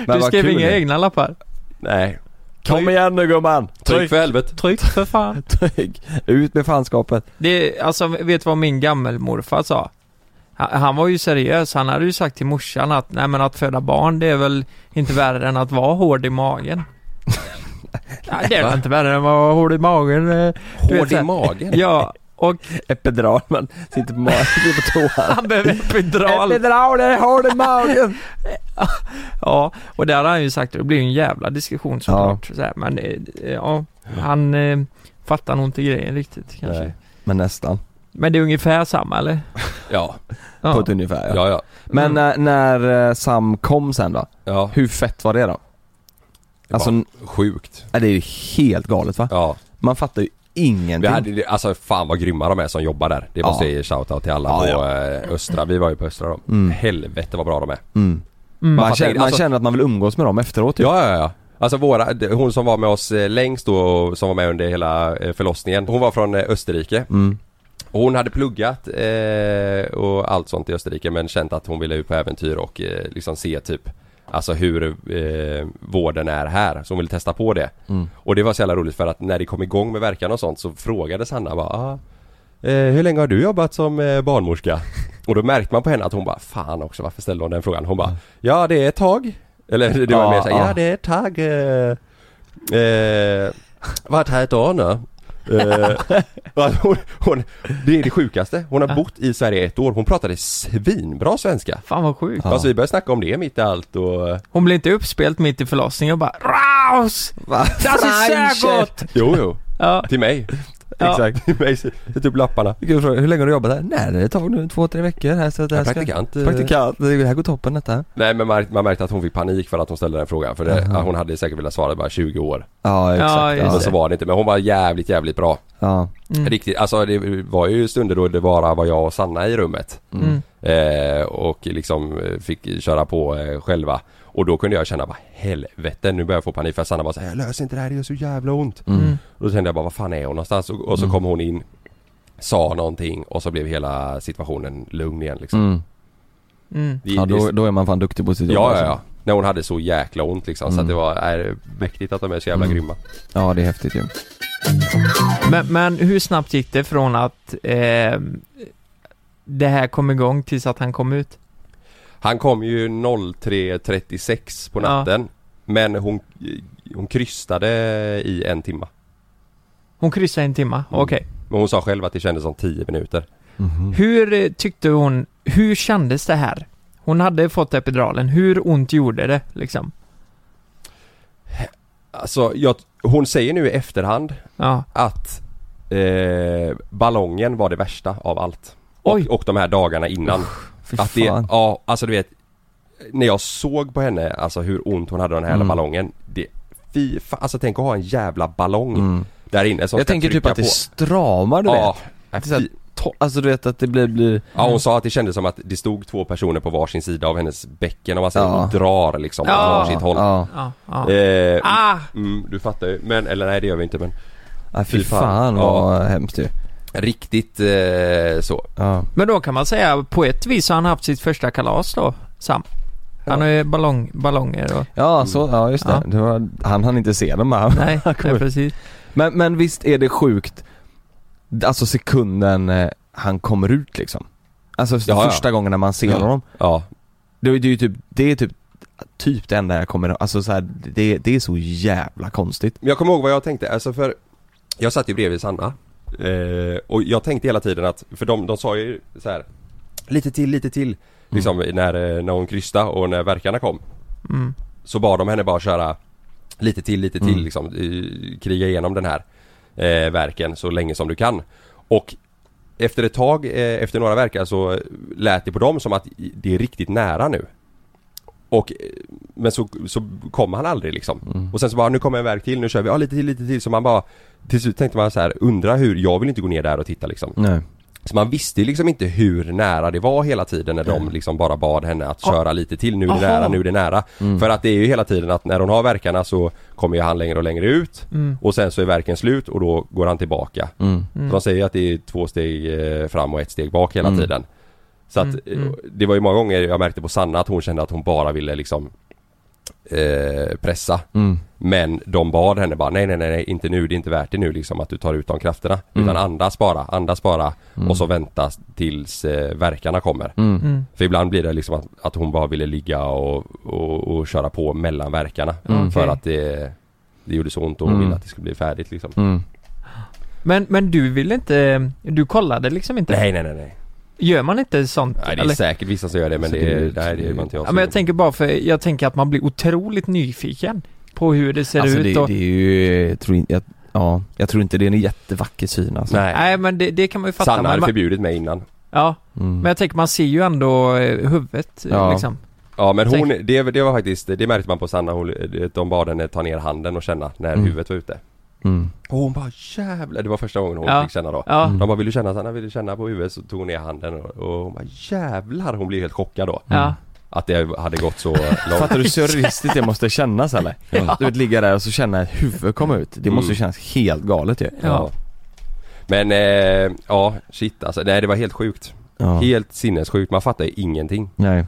C: vad
B: skrev
C: kul
B: inga
C: det.
B: egna lappar?
D: Nej,
C: Kom igen nu gumman!
D: tryck för helvete!
B: Tryck för fan!
C: Tryck! Ut med fanskapet!
B: Det, alltså vet du vad min gammelmorfar sa? Han, han var ju seriös, han hade ju sagt till morsan att nej men att föda barn det är väl inte värre än att vara hård i magen. ja, det är väl inte värre än att vara hård i magen. eh, du vet
D: Hård
B: så
D: i
B: här.
D: magen?
B: Ja, och
C: Epidural man sitter på, ma- sitter på toan
B: han behöver epidural.
C: Epidural, det håller i magen!
B: Ja, och där har han ju sagt, och det blir ju en jävla diskussion såklart. Så här, men eh, ja, han eh, fattar nog inte grejen riktigt kanske.
D: Nej.
C: Men nästan,
B: Men det är ungefär samma eller?
D: Ja,
B: Ja.
C: på ett ungefär ja.
D: ja ja,
C: Men när, när eh, Sam kom sen då?
D: ja.
C: Hur fett var det då? Alltså,
D: Alltså, sjukt
C: ja, det är ju helt galet va?
D: Ja,
C: Man fattar ju ingenting
D: vi hade, det- alltså fan vad grymma de är som jobbar där Det
C: Ja.
D: måste jag ge shoutout till alla
C: Ja,
D: på
C: ja.
D: eh, Östra, vi var ju på Östra då
C: Mm.
D: Helvete vad bra de är
C: mm.
B: Mm.
C: Man,
D: fattar
C: känner,
D: inte,
C: man
D: alltså-
C: känner att man vill umgås med dem efteråt typ. ju.
D: Ja, ja, ja. Alltså våra, d- hon som var med oss eh, längst då, och som var med under hela eh, förlossningen. Hon var från eh, Österrike.
C: Mm.
D: Och hon hade pluggat eh, och allt sånt i Österrike men känt att hon ville ut på äventyr och eh, liksom se typ Alltså hur eh, vården är här, så hon ville testa på det.
C: Mm.
D: Och det var så jävla roligt för att när det kom igång med verkan och sånt så frågade Sanna bara ah, eh, Hur länge har du jobbat som eh, barnmorska? Och då märkte man på henne att hon bara Fan också varför ställde hon den frågan? Hon bara Ja det är ett tag Eller det var
C: Ja,
D: mer såhär
C: ja.
D: Ja det är ett tag eh, eh, Varit här ett år nu eh, och hon, hon, Det är det sjukaste Hon har bott i Sverige i ett år Hon pratade svinbra svenska
B: Fan vad sjukt.
C: Ja.
D: Alltså vi började snacka om det mitt i allt och
B: Hon blev inte uppspelt mitt i förlossningen och bara Raus!
C: Va?
B: Det är så gott!
D: Jo jo
B: Ja,
D: Till mig
B: ja.
C: Exakt.
D: Till mig, sätt upp lapparna
C: Gud, fråga, hur länge har du jobbat här? Nej det är ett tag nu, två, tre veckor här så att det här
D: Jag är
C: ska...
D: praktikant eh,
C: Praktikant, det här går toppen detta.
D: Nej men man, man märkte att hon fick panik för att hon ställde den frågan för det,
C: Aha.
D: hon hade säkert velat svara bara 20 år
C: Ja
B: Ja,
C: exakt.
B: just
C: Ja,
D: Men så
C: ja.
B: det.
D: var det inte men hon var jävligt jävligt bra
B: Mm.
D: Riktigt, alltså det var ju stunder då det bara var jag och Sanna i rummet
B: Mm.
D: eh, Och liksom eh, fick köra på eh, själva Och då kunde jag känna bara helvete nu börjar jag få panik för Sanna var såhär Jag löser inte det här, det gör så jävla ont
B: Mm.
D: Och då kände jag bara vad fan är hon någonstans? Och, och så
C: Mm.
D: kom hon in Sa någonting och så blev hela situationen lugn igen liksom
C: Mm.
B: Mm.
D: Det-
C: ja
D: det-
C: då, då är man fan duktig på sitt jobb
D: Ja, ja,
C: alltså.
D: ja. När hon hade så jäkla ont liksom. Så
C: Mm.
D: att det var är, mäktigt att de är så jävla
C: Mm.
D: grymma.
C: ja det är häftigt ju.
B: Men, men hur snabbt gick det från att eh, det här kom igång tills att han kom ut?
D: Han kom ju 03.36 på
B: Ja.
D: natten. Men hon, hon krystade i en timma.
B: Hon kryssade en timma,
D: Mm.
B: okej.
D: Men hon sa själv att det kändes som 10 minuter.
B: Hur eh, tyckte hon, hur kändes det här? Hon hade fått epiduralen, hur ont gjorde det liksom?
D: Alltså, jag, hon säger nu i efterhand
B: Ja,
D: att eh, ballongen var det värsta av allt. Och,
B: Oj.
D: och de här dagarna innan.
C: Fy
D: Att det,
C: fan.
D: ja alltså du vet När jag såg på henne, alltså hur ont hon hade av den här jävla
C: Mm.
D: ballongen Det, fy fan, alltså tänk att ha en jävla ballong
C: Mm.
D: där inne som
C: Jag
D: ska
C: tänker typ
D: trycka
C: att det
D: på.
C: stramar du
D: Ja,
C: vet. Att det är så här to- Alltså du vet att det blir, blir
D: Ja hon sa att det kändes som att det stod två personer på varsin sida av hennes bäcken och man säger
C: Ja.
D: drar liksom
B: Ja.
D: åt varsitt håll.
C: Ja,
B: Ja, ja.
D: Eh,
B: Ah!
D: mm, du fattar ju, men eller nej det gör vi inte men
C: ja fy
D: Fy fan.
C: fan vad hemskt ju.
D: riktigt eh, så.
C: Ja.
B: Men då kan man säga på ett vis har han haft sitt första kalas då, Sam. Han har ju ballong, ballonger och...
C: ja, så,
D: Mm.
C: ja just det.
B: Ja.
C: det var, han hann inte se dem här.
B: Nej, nej
C: Kommer-
B: precis.
C: Men, men visst är det sjukt, alltså sekunden eh, han kommer ut liksom. Alltså
D: Ja, ja.
C: första gången när man ser
D: Ja.
C: honom.
D: Ja,
C: Det, är- det är ju typ, det är typ, typ det enda jag kommer alltså så här, det, det är så jävla konstigt.
D: Men jag kommer ihåg vad jag tänkte, alltså för Jag satt ju bredvid Sanna eh, Och jag tänkte hela tiden att, för de, de sa ju så här Lite till, lite till Liksom när, eh, när hon krysta och när verkarna kom
B: Mm.
D: Så bad de henne bara köra Lite till, lite till
C: Mm.
D: liksom eh, Kriga igenom den här eh, verken så länge som du kan Och efter ett tag, eh, efter några verkar så lät det på dem som att det är riktigt nära nu och, eh, men så, så kom han aldrig liksom. Och sen så bara, nu kommer en verk till, nu kör vi, ja lite till, lite till. Så man bara, till slut tänkte man så här, undra hur, jag vill inte gå ner där och titta liksom.
C: Nej.
D: Så man visste ju liksom inte hur nära det var hela tiden när de liksom bara bad henne
C: Ah.
D: att köra lite till, nu är det
B: Aha.
D: nära, nu är det nära.
C: Mm.
D: För att det är ju hela tiden att när hon har verkarna så kommer ju han längre och längre ut. Och sen så är verken slut och då går han tillbaka.
C: Mm.
D: Så de säger ju att det är två steg eh, fram och ett steg bak hela
C: Mm.
D: tiden. Så att eh, det var ju många gånger jag märkte på Sanna att hon kände att hon bara ville liksom eh, pressa.
C: Mm.
D: Men de bad henne bara nej nej nej nej, inte nu, det är inte värt det nu liksom att du tar ut de krafterna.
C: Mm.
D: Utan andas bara, andas bara
B: Mm.
D: och så vänta tills eh, verkarna kommer.
C: Mm.
D: För ibland blir det liksom att, att hon bara ville ligga och, och, och köra på mellan verkarna För
B: Mm. Okej.
D: att det, det gjorde så ont och hon
C: Mm.
D: ville att det skulle bli färdigt liksom.
C: Mm.
B: Men, men du ville inte... Du kollade liksom inte?
D: Nej nej nej nej.
B: Gör man inte sånt?
D: Nej det är
B: eller?
D: säkert vissa som gör det men
C: Så
D: det,
C: det
D: är,
C: är-
D: det här är ju inte jag
B: Ja,
D: som
B: men
D: gjorde.
B: jag tänker bara för... Jag tänker att man blir otroligt nyfiken på hur det ser
C: Alltså
B: ut
C: det,
B: och...
C: det är ju, jag tror, in- jag, ja, jag tror inte det är en jättevacker syn alltså.
D: Nej.
B: Nej men det, det kan man ju fatta.
D: Sanna
B: men
D: hade
B: man,
D: förbjudit mig innan.
B: ja,
C: Mm.
B: men jag tänker man ser ju ändå eh, huvudet eh,
C: Ja.
B: liksom.
D: Ja men hon,
B: Tänk-
D: det, det var faktiskt, det märkte man på Sanna, hon, de bad henne ta ner handen och känna när
C: Mm.
D: huvudet var ute.
C: Mm.
D: Och hon bara jävlar, det var första gången hon
B: Ja.
D: fick känna då.
B: Ja.
D: De bara vill du känna Sanna, vill du känna på huvudet? Så tog hon ner handen och, och hon bara jävlar, hon blev helt chockad då.
B: Ja.
D: Att det hade gått så eh, långt.
C: Fattar du hur surrealistiskt det måste kännas eller? Du vet ligga där och så känna ett huvud komma ut. Det måste ju kännas helt galet ju.
B: Ja.
D: Men eh, ja, shit alltså, nej det var helt sjukt.
C: Ja.
D: Helt sinnessjukt, man fattar ju ingenting.
C: Nej.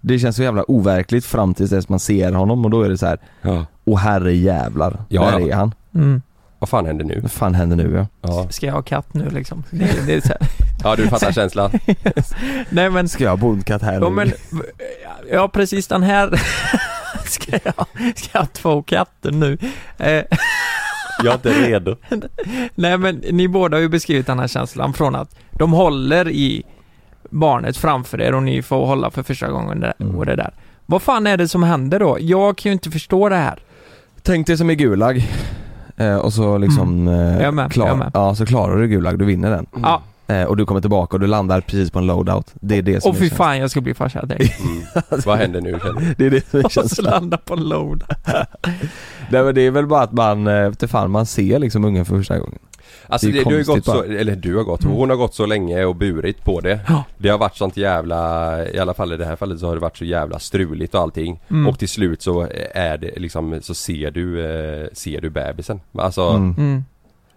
C: Det känns så jävla overkligt fram tills dess man ser honom och då är det så här.
D: Ja.
C: Åh herre jävlar,
D: Ja,
C: där
D: ja.
C: är han.
B: Mm.
D: Vad fan händer nu?
C: Vad fan händer nu ja?
D: Ja,
B: Ska jag ha katt nu liksom? Det, det är så här.
D: ja du fattar känslan.
B: Nej men...
C: Ska jag ha bondkatt här
B: Ja,
C: nu?
B: men, eh, ja precis den här ska, jag, ska jag ha två katter nu? Eh,
D: Jag är inte redo.
B: nej men ni båda har ju beskrivit den här känslan från att de håller i barnet framför er och ni får hålla för första gången det, och det där. Vad fan är det som händer då? Jag kan ju inte förstå det här.
C: Tänk dig som i Gulag. Eh, och så liksom... Eh,
B: Mm. Jag med,
C: klar,
B: jag med.
C: Ja, så klarar du Gulag, du vinner den.
B: Ja,
C: Eh, och du kommer tillbaka och du landar precis på en loadout. Det är det som
B: och
C: är
B: fy
C: känslan.
B: fan jag ska bli farsa direkt.
D: Mm. Vad händer nu känner du?
C: Det är det som är
B: Och så
C: känslan.
B: landa på en load.
C: Nej men det är väl bara att man, eh, vet du fan, man ser liksom ungen för första gången.
D: Alltså
C: Det
D: det,
C: är
D: du har ju gått
C: konstigt
D: så,
C: bara.
D: eller du har gått, hon har gått så länge och burit på det
B: Mm. Ja.
D: Det har varit sånt jävla, i alla fall i det här fallet så har det varit så jävla struligt och allting
B: Mm.
D: Och till slut så är det liksom, så ser du, eh, ser du bebisen Alltså,
C: Mm.
B: Mm.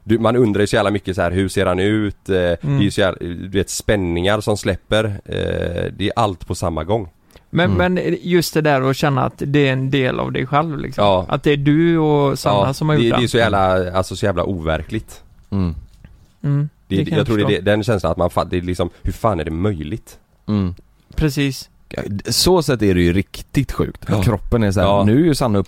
D: du, man undrar ju så jävla mycket så här, hur ser han ut? Eh,
B: Mm.
D: Det är ju så jävla, du vet spänningar som släpper eh, Det är allt på samma gång
B: Men,
D: Mm.
B: men just det där att känna att det är en del av dig själv liksom.
D: Ja.
B: Att det är du och Sanna som har gjort
D: det, det
B: den.
D: är så jävla, alltså så jävla overkligt
C: Mm.
B: Mm,
D: det,
B: det kan
D: Jag tror det är
B: förstå.
D: det- den känslan att man, fa- det är liksom, hur fan är det möjligt?
C: Mm.
B: Precis.
C: Ja, Så sätt är det ju riktigt sjukt.
D: Ja.
C: Att kroppen är så här,
D: Ja.
C: nu är ju Sanna upp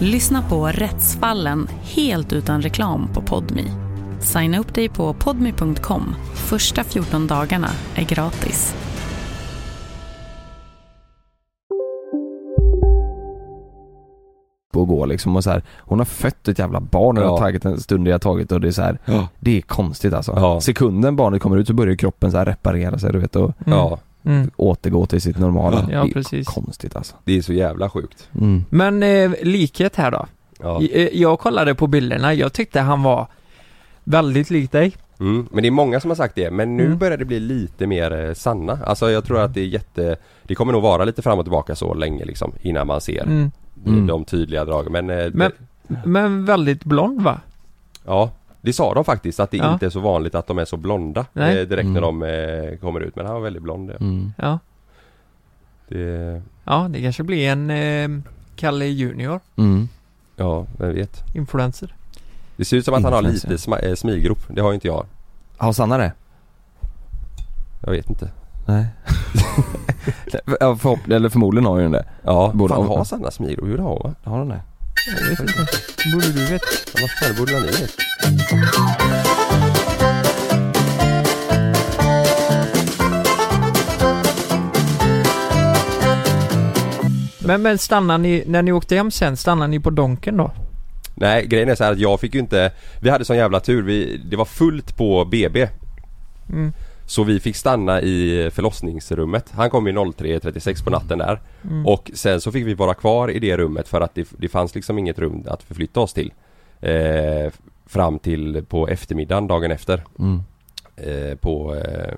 G: Lyssna på Rättsfallen helt utan reklam på Podmi. Signa upp dig på podmi.com. Första 14 dagarna är gratis.
C: och gå liksom och så här, Hon har fött ett jävla barn och det har
D: Ja.
C: tagit en stund det har tagit och det är så här,
D: Ja.
C: Det är konstigt alltså.
D: Ja.
C: Sekunden barnet kommer ut så börjar ju kroppen så här reparera sig du vet och
D: Ja.
B: Mm.
C: återgå till sitt normala.
B: Ja,
C: det är
B: precis.
C: konstigt alltså.
D: Det är så jävla sjukt.
C: Mm.
B: Men eh, likhet här då.
D: Ja.
B: I- eh, Jag kollade på bilderna, jag tyckte han var väldigt lik dig.
D: Mm. Men det är många som har sagt det, men nu
B: Mm.
D: börjar det bli lite mer eh, sanna. Alltså jag tror att det är jätte... Det kommer nog vara lite fram och tillbaka så länge liksom innan man ser
B: Mm.
D: de, de tydliga dragen. Men, eh,
B: Men, men väldigt blond va?
D: Ja, det sa de faktiskt att det
B: Ja.
D: inte är så vanligt att de är så blonda
B: Nej.
D: eh, direkt när
B: Mm.
D: de eh, kommer ut. Men han var väldigt blond.
C: Mm.
D: Ja.
B: Ja.
D: Det,
B: Ja, det kanske blir en eh, Kalle Junior,
C: Mm.
D: ja, vem vet.
B: influencer.
D: Det ser ut som att han har lite
B: Influencer.
D: sma- eh, smigrop. Det har ju inte jag.
C: Har Sanna det?
D: Jag vet inte.
C: Nej. Ja, förhopp- eller förmodligen har ju den det.
D: Ja,
C: Borde
D: fan
C: ha-
D: har Sanna smigrop? Jo det har hon va?
C: Har hon det?
B: Jag vet inte. Borde du veta?
D: Ja, Vad fan borde ni veta?
B: Men, men stannar ni, när ni åkte hem sen, stannar ni på Donken då?
D: Nej, grejen är så här att jag fick ju inte... Vi hade sån jävla tur. Vi, det var fullt på BB.
B: Mm.
D: Så vi fick stanna i förlossningsrummet. Han kom ju 03.36 på natten där.
B: Mm.
D: Och sen så fick vi vara kvar i det rummet för att det, det fanns liksom inget rum att förflytta oss till. Eh, fram till på eftermiddagen dagen efter.
C: Mm.
D: Eh, på, eh,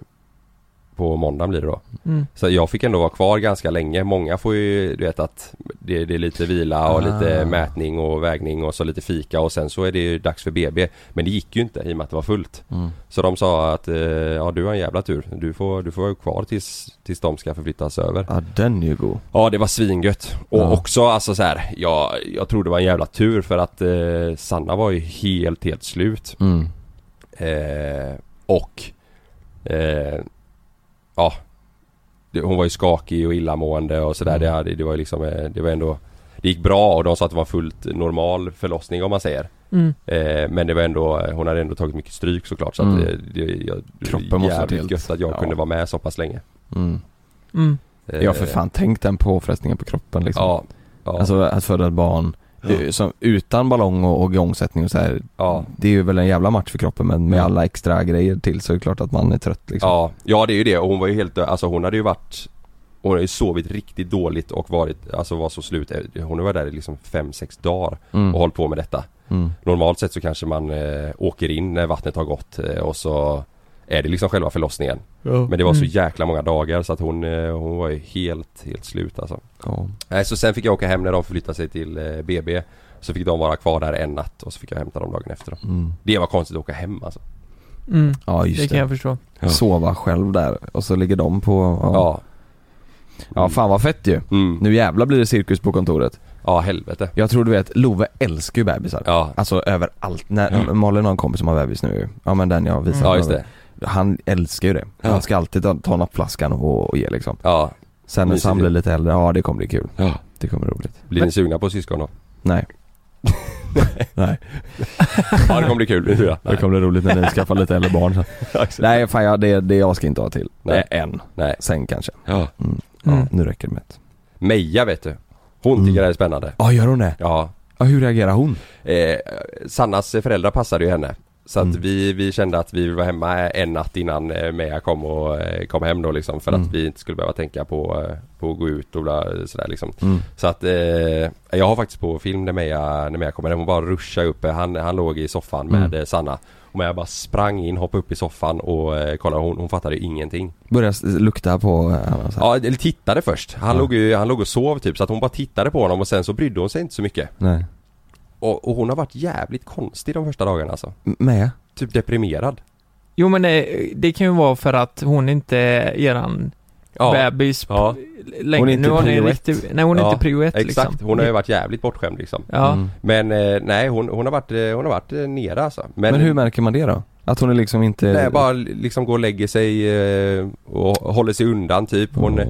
D: på måndag blir det då.
C: Mm.
D: Så jag fick ändå vara kvar ganska länge. Många får ju, du vet att det, det är lite vila och
C: Ah.
D: lite mätning och vägning och så lite fika och sen så är det ju dags för BB. Men det gick ju inte i och med att det var fullt.
C: Mm.
D: Så de sa att eh, ja du har en jävla tur. Du får, du får vara kvar tills, tills de ska förflyttas över.
C: Ja den är ju god.
D: Ja det var svingött. Och
C: Ja.
D: också alltså så här, jag, jag tror det var en jävla tur för att eh, Sanna var ju helt helt slut.
C: Mm.
D: Eh, och eh, Ja det, Hon var ju skakig och illamående och
C: Mm.
D: sådär. Det, hade- det var ju liksom eh, Det var ändå Det gick bra och de sa att det var fullt normal förlossning om man säger.
B: Mm.
D: Eh, men det var ändå Hon hade ändå tagit mycket stryk såklart så att
C: Mm.
D: eh, det, jag, det var
C: Kroppen måste ha
D: jävligt
C: tilt.
D: gött att jag
C: Ja.
D: kunde vara med så pass länge.
C: Mm.
B: Mm.
C: Ja för fan, tänk den påfrestningen på kroppen liksom.
D: Eh, Ja, ja.
C: Alltså att föda ett barn eh, som, utan ballong och, och igångsättning och så här.
D: Ja.
C: Det är ju väl en jävla match för kroppen men med alla extra grejer till så är det klart att man är trött liksom.
D: Ja, ja det är ju det och hon var ju helt Alltså hon hade ju varit Hon hade ju sovit riktigt dåligt och varit Alltså var så slut Hon var där i liksom 5-6 dagar
C: Mm.
D: och hållit på med detta
C: Mm.
D: Normalt sett så kanske man eh, åker in när vattnet har gått eh, och så Är det liksom själva förlossningen
C: Ja.
D: Men det var så
C: Mm.
D: jäkla många dagar så att hon, eh, hon var ju helt, helt slut alltså
C: Ja.
D: Nej så sen fick jag åka hem när de förflyttade sig till eh, BB Så fick de vara kvar där en natt och så fick jag hämta dem dagen efter då.
C: Mm.
D: Det var konstigt att åka hem alltså
B: Mm.
C: Ja just det.
B: det kan jag förstå.
D: Ja.
C: Sova själv där och så ligger de på... Ja.
D: Ja. Mm.
C: Ja, fan vad fett ju. Nu jävla blir det cirkus på kontoret.
D: Ja helvete.
C: Jag tror du vet, Love älskar ju bebisar.
D: Ja.
C: Alltså överallt. När, Malin har en kompis som har bebis nu ju. Ja men den jag visade.
D: Ja, just det.
C: Han älskar ju det.
D: Ja.
C: Han ska alltid ta, ta nappflaskan och, och ge liksom.
D: Ja.
C: Sen när
D: Mysigt
C: Sam
D: ju.
C: blir lite äldre, ja det kommer bli kul.
D: Ja.
C: Det kommer bli roligt.
D: Blir ni sugna på syskon då?
C: Nej. Nej.
D: Ja det kommer bli kul. Ja,
C: Det kommer bli roligt när ni skaffar lite äldre barn sen. Nej fan jag, det, det jag ska inte ha till.
D: Nej.
C: Nej. Än.
D: Nej.
C: Sen kanske.
D: Ja.
C: Mm. Ja, nu räcker det med ett.
D: Meja vet du. Hon tycker det här är spännande.
C: Ja gör hon det?
D: Ja.
C: Ja hur reagerar hon?
D: Eh, Sannas föräldrar passade ju henne. Så att
C: Mm.
D: vi, vi kände att vi ville vara hemma en natt innan eh, Meja kom, och, eh, kom hem då liksom för
C: Mm.
D: att vi inte skulle behöva tänka på, eh, på att gå ut och bla, sådär liksom.
C: Mm.
D: Så att eh, jag har faktiskt på film när Meja, när Meja kommer hem, hon bara ruschar upp. Han, han låg i soffan med
C: Mm.
D: eh, Sanna. Och Meja bara sprang in, hoppade upp i soffan och eh, kollade, hon, hon fattade ingenting.
C: Börjar s- lukta på eh, annars.
D: Ja, eller tittade först. Han,
C: Ja.
D: låg ju, han låg och sov typ så att hon bara tittade på honom och sen så brydde hon sig inte så mycket.
C: Nej.
D: Och, och hon har varit jävligt konstig de första dagarna alltså.
C: Med?
D: Typ deprimerad.
B: Jo men det, det kan ju vara för att hon inte är eran
D: Ja.
B: bebis
D: Ja.
B: längre. nu har en riktig, Nej hon är
D: Ja,
B: inte prio ett
D: Exakt,
B: liksom.
D: hon har ju varit jävligt bortskämd liksom.
B: Ja. Mm.
D: Men eh, nej hon, hon har varit, eh, hon har varit eh, nere alltså.
C: Men, hur märker man det då? Att hon är liksom inte...
D: Nej, bara liksom gå och lägger sig eh, och håller sig undan typ. Hon eh,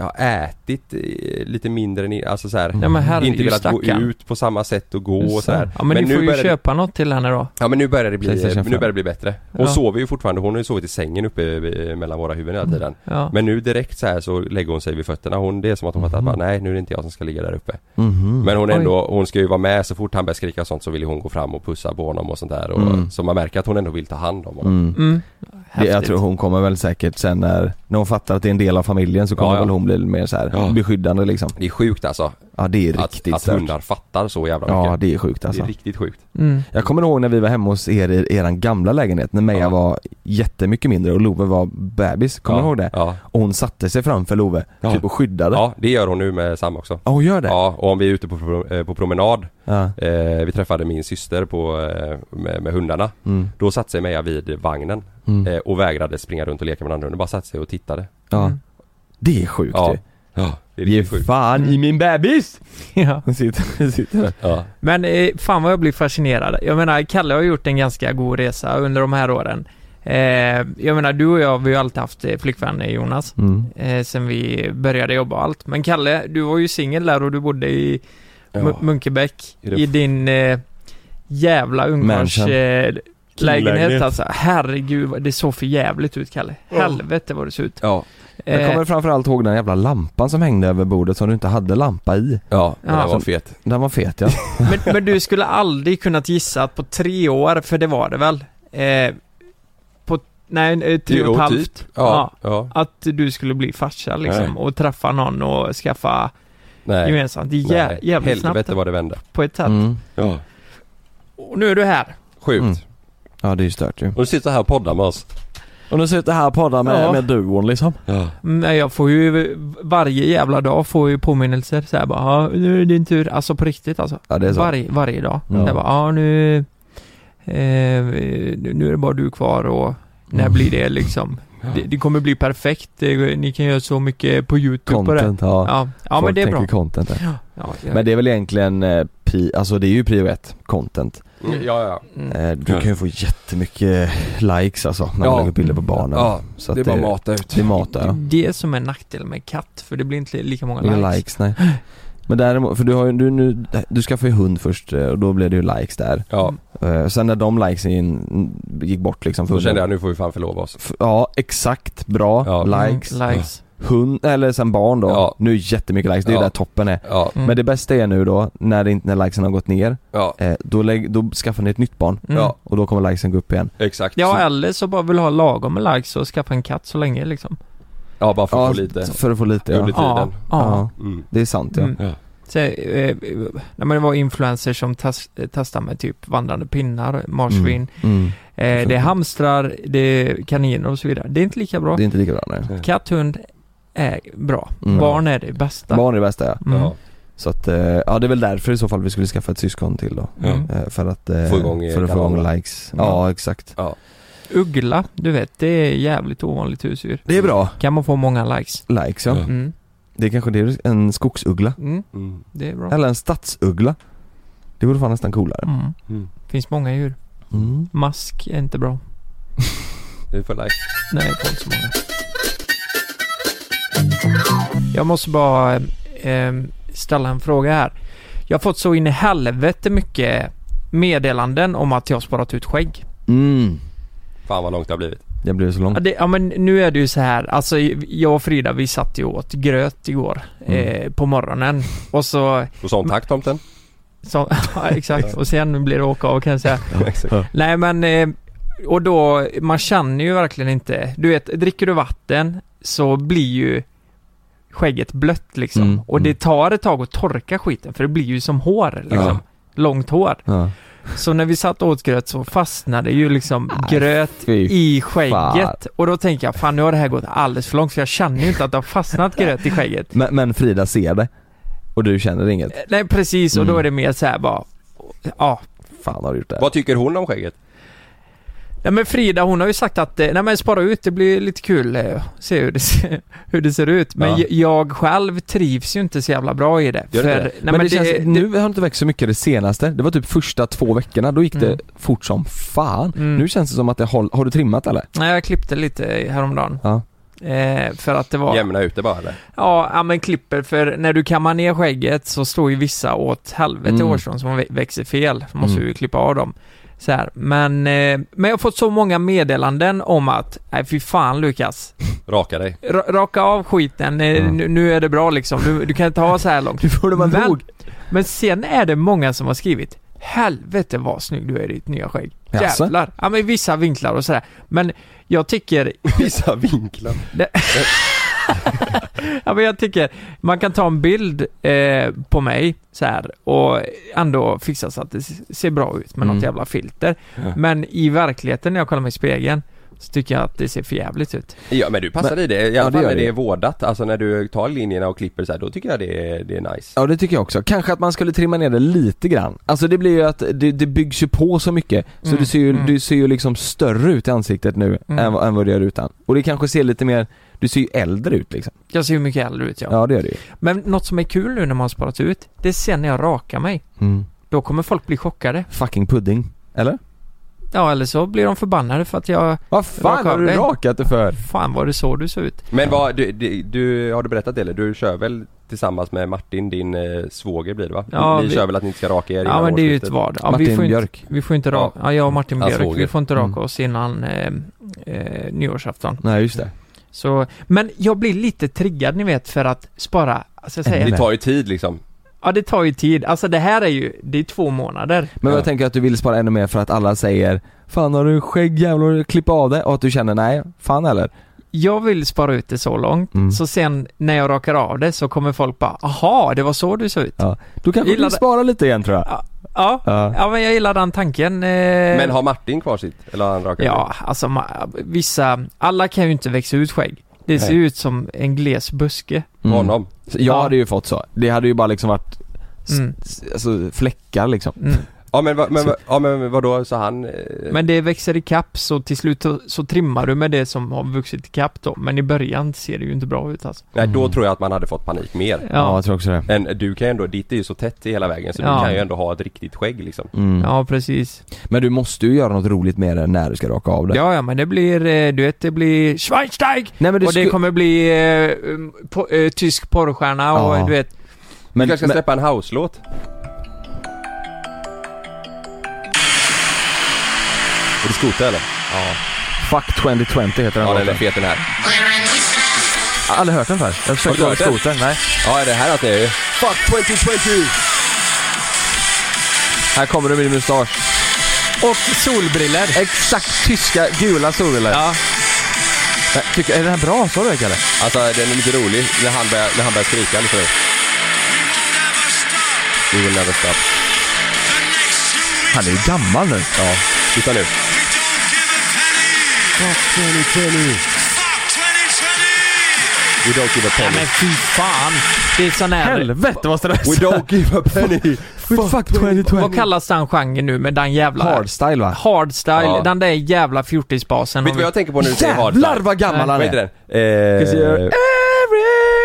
D: har ätit eh, lite mindre än, i- alltså så här,
B: Ja, men herregud,
D: Inte velat gå
B: stackarn.
D: ut på samma sätt och gå och så här.
B: Ja men, ni får ju
D: börjar det-
B: köpa något till henne då.
D: Ja men nu börjar det bli,
C: Playstation
D: nu börjar det
C: 5.
D: bli bättre. Hon
B: Ja.
D: sover ju fortfarande, hon har ju sovit i sängen uppe eh, mellan våra huvuden hela tiden.
B: Ja.
D: Men nu direkt så här så lägger hon sig vid fötterna. Hon, det är som att hon
B: Mhm.
D: fattar att bara, nej nu är det inte jag som ska ligga där uppe.
C: Mhm.
D: Men hon är
C: Oj.
D: ändå, hon ska ju vara med så fort han börjar skrika och sånt så vill ju hon gå fram och pussa på honom och sånt där. Och,
C: Mm.
D: Så man märker att hon ändå vill ta hand om honom.
C: Mm.
B: Mm.
C: Det, jag
D: Häftigt.
C: tror hon kommer väl säkert sen när, när hon fattar att det är en del av familjen så kommer
D: Ja, ja.
C: väl hon bli mer så här beskyddande liksom.
D: Det är sjukt alltså.
C: Ja det är
D: Att,
C: riktigt
D: att
C: stört.
D: hundar fattar så jävla mycket.
C: Ja det är sjukt alltså.
D: Det är riktigt sjukt.
B: Mm.
C: Jag kommer ihåg när vi var hemma hos er i eran gamla lägenhet när Meja var jättemycket mindre och Love var bebis, kommer
D: Ja,
C: du ihåg det?
D: ja.
C: Och hon satte sig framför Love,
D: Ja.
C: typ och skyddade.
D: Ja, det gör hon nu med Sam också.
C: Ja hon gör det?
D: Ja, och om vi är ute på, pro- eh, på promenad
C: Ja.
D: eh, Vi träffade min syster på, eh, med, med hundarna
C: Mm.
D: Då satte sig Meja vid vagnen
C: Mm.
D: eh, och vägrade springa runt och leka med den andra hunden, bara satte sig och tittade
C: Ja.
B: Mm.
C: Det är sjukt
D: Ja.
C: ju.
D: Ja, det är
C: Ge
D: riktigt sjukt
C: fan i min bebis!
B: Mm. Ja.
C: Hon sitter, hon sitter där.
D: Ja,
B: Men eh, fan vad jag blir fascinerad. Jag menar, Kalle har gjort en ganska god resa under de här åren. Eh, jag menar, du och jag, vi har ju alltid haft eh, flickvän eh, Jonas.
C: Mm.
B: Eh, sen vi började jobba och allt. Men Kalle, du var ju singel där och du bodde i
C: Ja.
B: M- Munkebäck.
C: I det-
B: I din eh, jävla ungkars...
C: Mansion.
B: Eh, lägenhet
C: Lägenhet.
B: alltså. Herregud, vad- det såg för jävligt ut Kalle.
C: Ja.
B: Helvete vad det såg ut. Eh,
D: Ja.
C: Jag kommer framförallt ihåg den jävla lampan som hängde över bordet som du inte hade lampa i.
D: Ja, den
B: Ja.
D: var fet
C: Den var fet ja.
B: Men, men du skulle aldrig kunnat gissa att på tre år, för det var det väl? Eh, på, nej, eh, tre och
D: Jo,
B: ett halvt.
D: typ. Ja, ja.
B: Att du skulle bli farsa liksom
D: Nej.
B: och träffa någon och skaffa
D: Nej.
B: gemensamt. Det är jä-
D: Nej.
B: jävligt
D: Helvete
B: snabbt
D: vad det vände
B: på ett sätt.
C: Mm.
D: Ja,
B: Och nu är du här.
D: sjukt
B: Mm.
C: Ja det är ju stört ju.
D: Och du sitter här och poddar med oss
C: Och nu sitter jag här och poddar med,
B: Ja.
C: med duon liksom.
D: Ja,
B: Men jag får ju, varje jävla dag får jag ju påminnelser så här bara, ja nu är det din tur. Alltså på riktigt alltså.
C: Ja, det är så.
B: Varje, varje dag.
C: Ja.
B: Jag bara, ja nu, eh, nu nu är det bara du kvar och
C: Mm.
B: när blir det liksom? Det, det kommer bli perfekt, Det- ni kan göra så mycket på youtube
C: Content,
B: Typ på det.
C: ja.
B: ja. ja men
C: Folk
B: det är
C: tänker
B: bra.
C: content där.
B: Ja, ja, ja.
C: Men det är väl egentligen, eh, pri, alltså det är ju prio ett, content.
D: Mm, ja, ja.
C: Eh, Du kan ju få jättemycket likes alltså när
D: Ja.
C: man lägger upp bilder på barnen.
D: Ja,
C: Så att
D: det är bara mata ut.
C: Det är mata ja.
B: Det är det som är nackdel med katt, för det blir inte lika många
C: Inga likes.
B: likes.
C: nej. Men däremot, för du har ju, du nu, du skaffade ju hund först eh, och då blev det ju likes där.
D: Ja.
C: Eh, Sen när de likesen gick bort liksom för
B: Mm.
D: då kände jag
C: hunden.
D: nu får vi fan förlova oss
C: F- Ja, exakt, bra,
D: Ja.
C: likes.
B: Mm, likes.
C: Hund, eller sen barn då.
D: Ja.
C: Nu är det jättemycket likes, det är
D: Ja. Mm.
C: ju där toppen är.
D: Ja.
B: Mm.
C: Men det bästa är nu då, när, det, inte- när likesen har gått ner,
D: Ja.
C: eh, då, lägg, då skaffar ni ett nytt barn.
B: Mm. Ja.
C: Och då kommer likesen gå upp igen.
D: Exakt
B: Ja eller så bara vill ha lagom med likes och skaffa en katt så länge liksom.
D: Ja, bara för att få
C: Ja,
D: lite
C: För att få lite ja.
D: Under
B: Ja,
D: tiden
B: ja.
D: Mm.
C: Det är sant ja.
B: Mm. Så, eh, när man var influencers som tas, testar med typ vandrande pinnar, marsvin,
C: Mm.
B: Eh, det är hamstrar, det är kaniner och så vidare. Det är inte lika bra.
C: Det är inte lika bra nej.
B: Katt, hund är bra.
C: Mm.
B: Barn är det bästa.
C: Barn är det bästa ja.
B: Mm. Ja.
C: Så att, eh, ja det är väl därför i så fall vi skulle skaffa ett syskon till då.
B: Ja.
C: Eh, För att, eh,
D: Få igång, eh,
C: för att få igång
D: kanalerna.
C: likes.
B: Ja.
C: Ja, exakt.
D: Ja.
B: Uggla, du vet, det är jävligt ovanligt husdjur.
C: Det är bra.
B: Kan man få många likes.
C: Likes ja.
B: Mm.
C: Det är kanske det är en skogsuggla.
B: Mm.
D: Mm.
B: Det är bra.
C: Eller en stadsuggla. Det vore fan nästan coolare.
B: Mm.
D: Mm.
B: Finns många djur.
C: Mm.
B: Mask är inte bra.
D: Du får like
B: Nej, det är inte så många. Jag måste bara eh, ställa en fråga här. Jag har fått så in i helvete mycket meddelanden om att jag har sparat ut skägg.
C: Mm.
D: Fan vad långt det har blivit
C: Jag blev så lång.
B: Ja, det, ja men nu är det ju så här, alltså jag och Frida vi satt ju och åt gröt igår eh, på morgonen och så
D: Och sån tack tomten
B: Som, ja, exakt, och sen blir det åka av kan jag säga.
D: exakt.
B: Nej men, eh, och då, man känner ju verkligen inte. Du vet, dricker du vatten så blir ju skägget blött liksom.
C: Mm,
B: och det tar ett tag att torka skiten för det blir ju som hår liksom.
C: Ja.
B: Långt hår.
C: Ja.
B: Så när vi satt och åt gröt så fastnade ju liksom gröt
C: fy
B: i
C: fan.
B: skägget. Och då tänker jag, fan nu har det här gått alldeles för långt för jag känner ju inte att det har fastnat gröt i skägget.
C: Men, men Frida ser det. Och du känner inget.
B: Nej precis, och
C: Mm.
B: då är det mer så här bara, ja.
C: Fan har du gjort det här?
D: Vad tycker hon om skägget?
B: Nej men Frida hon har ju sagt att, eh, nej men spara ut, det blir lite kul, eh, se hur det, ser- hur det ser ut. Men
C: Ja.
B: j- jag själv trivs ju inte så jävla bra i det.
C: Gör det
B: för,
C: inte det?
B: Nej,
C: men, det, känns, nu har det inte växt så mycket det senaste. Det var typ första två veckorna, då gick det
B: Mm.
C: fort som fan.
B: Mm.
C: Nu känns det som att det håll, har du trimmat eller?
B: Nej jag klippte lite häromdagen.
C: Ja.
B: Eh, för att det var...
D: Jämna ut det bara eller?
B: Ja, ja, men klipper för när du kammar ner skägget så står ju vissa åt helvete
D: Mm.
B: hårstrån som vä- växer fel. Så måste
D: Mm.
B: vi klippa av dem. Så här. Men, eh, men jag har fått så många meddelanden om att, nej fy fan Lukas.
D: Raka dig.
B: Ra- raka av skiten, eh, nu, nu är det bra liksom. Du, du kan inte ha så här långt. Du får det vara men, men sen är det många som har skrivit, helvete vad snygg du är i ditt nya skägg.
D: Jaså?
B: Jävlar. Ja men i vissa vinklar och sådär. Men jag tycker...
D: Vissa vinklar?
B: ja, men jag tycker, man kan ta en bild eh, på mig så här och ändå fixa så att det s- ser bra ut med
C: Mm.
B: något jävla filter.
C: Ja.
B: Men i verkligheten när jag kollar mig i spegeln så tycker jag att det ser för jävligt ut.
D: Ja men du passar
B: Men-
D: i det, i
B: Ja,
D: alla
B: det
D: fall
B: gör
D: när det
B: det.
D: är vårdat. Alltså när du tar linjerna och klipper så här, då tycker jag det är, det är nice.
C: Ja det tycker jag också. Kanske att man skulle trimma ner det lite grann. Alltså det blir ju att det, det byggs ju på så mycket så
B: Mm,
C: du, ser ju,
B: mm.
C: du ser ju liksom större ut i ansiktet nu
B: Mm.
C: än, vad- än vad du gör utan. Och det kanske ser lite mer, du ser ju äldre ut liksom.
B: Jag ser ju mycket äldre ut ja.
C: Ja det gör du ju.
B: Men något som är kul nu när man har sparat ut, det är sen när jag rakar mig.
C: Mm.
B: Då kommer folk bli chockade.
C: Fucking pudding. Eller?
B: Ja eller så blir de förbannade för att jag
C: Vad fan
B: rakar
C: har
B: av
C: du
B: dig.
C: rakat dig för?
B: Fan var det så du såg ut?
D: Men vad, du, du, du, har du berättat det eller? Du kör väl tillsammans med Martin, din eh, svåger blir det va?
B: Ja,
D: Ni
B: vi-
D: kör väl att ni inte ska raka er
B: Ja
D: innan
B: men det är ju ett
D: årsskiftet?
B: vad. Ja, vi får inte, Vi får inte raka, ja, jag och Martin
D: Hans
B: Björk,
D: svåger.
B: vi får inte raka
D: Mm.
B: oss innan eh, eh, nyårsafton.
C: Nej just det.
B: Så, men jag blir lite triggad ni vet för att spara, alltså jag säger,
D: Det tar ju tid liksom.
B: ja det tar ju tid. Alltså det här är ju, det är två månader.
C: Men jag tänker att du vill spara ännu mer för att alla säger Fan har du skägg jävlar, klipp av det och att du känner nej, fan eller?
B: Jag vill spara ut det så långt, så sen när jag rakar av det så kommer folk bara, aha det var så du såg ut.
C: Ja. Du kanske
B: Gillar
C: vill
B: det.
C: spara lite igen tror jag?
B: Ja,
C: Ja.
B: ja. men jag gillar den tanken. eh.
D: Men har Martin kvar sitt? Eller har han rakat
B: Ja, alltså ma- vissa, alla kan ju inte växa ut skägg. Det ser
C: Nej.
B: ut som en gles buske.
C: Mm.
D: Honom?
C: Så Jag hade ju fått så. Det hade ju bara liksom varit s-
B: Mm.
C: s- alltså, fläckar liksom.
D: Ja men, vad- men, vad- ja, men vadå, så han... eh,
B: Men det växer i kapp så till slut så, så trimmar du med det som har vuxit i kapp då. Men i början ser det ju inte bra ut alltså.
D: Nej då tror jag att man hade fått panik mer.
B: Ja. Ja, jag
C: tror också det.
D: Men du kan ju ändå, ditt är ju så tätt i hela vägen så du
B: Ja.
D: kan ju ändå ha ett riktigt skägg liksom.
C: Mm.
B: Ja, precis.
C: Men du måste ju göra något roligt med det när du ska raka av det.
B: Ja, ja men det blir, eh, du vet det blir Schweinsteig!
C: Nej, men det
B: och det
C: sku-
B: kommer bli eh, um, po- eh, tysk porrstjärna och
C: Ja.
B: du vet.
C: Men-
D: du kanske ska
C: men-
D: släppa en house-låt? Är det Skote eller? Ja.
C: Fuck 2020 heter den
D: Ja den är
C: låten.
D: fet den här.
C: Jag har aldrig hört den förr. Jag försökte
D: Har
C: höra
D: du hört
C: skoten, nej.
D: Ja det här att det är ju. Fuck 2020!
C: Här kommer du med din mustasch.
B: Och solbriller
C: Exakt tyska gula solbriller
B: Ja.
C: Tycker, är den här bra? Sa du det Kalle?
D: Alltså den är lite rolig när han börjar, när han börjar skrika lite nu. We will never stop.
C: Han är ju gammal nu.
D: Ja, titta nu. We don't give a
B: Nej
D: penny.
B: men fy fan! Det är sån här...
C: Helvete vad
D: We
C: stressad.
D: don't give a penny.
C: Fuck, fuck 2020.
B: Vad kallas den genren nu med den jävla...
C: Hardstyle va?
B: Hardstyle,
D: Ja.
B: den där jävla fjortisbasen.
D: Vet du vad jag tänker på när du säger hardstyle?
C: Jävlar vad gammal han
D: Vad heter
C: är.
D: den?
C: Ska se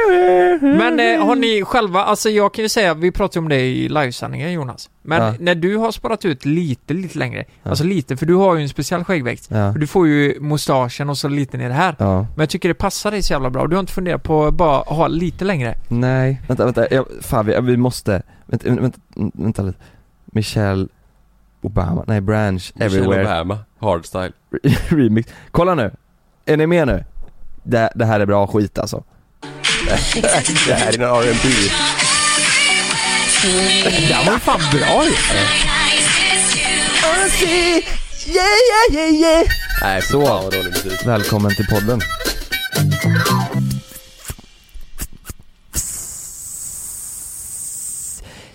D: Eh,
C: här.
B: Men eh, har ni själva, alltså jag kan ju säga, vi pratade om det i livesändningen Jonas. Men
C: Ja.
B: när du har sparat ut lite, lite längre, alltså lite, för du har ju en speciell skäggväxt.
C: Ja.
B: För Du får ju mustaschen och så lite ner här.
C: Ja.
B: Men jag tycker det passar dig så jävla bra. Du har inte funderat på att bara ha lite längre?
C: Nej. Vänta, vänta. Jag, fan vi, vi måste. Vänta, vänta, vänta lite. Michelle Obama. Nej, Branch
D: Michelle
C: Everywhere.
D: Obama, hardstyle.
C: Remix. Kolla nu. Är ni med nu? Det, det här är bra skit alltså.
D: det här är en R&B.
B: Den var ju fan bra ju.
C: yeah, yeah, yeah.
D: Nej,
C: så. Välkommen till podden.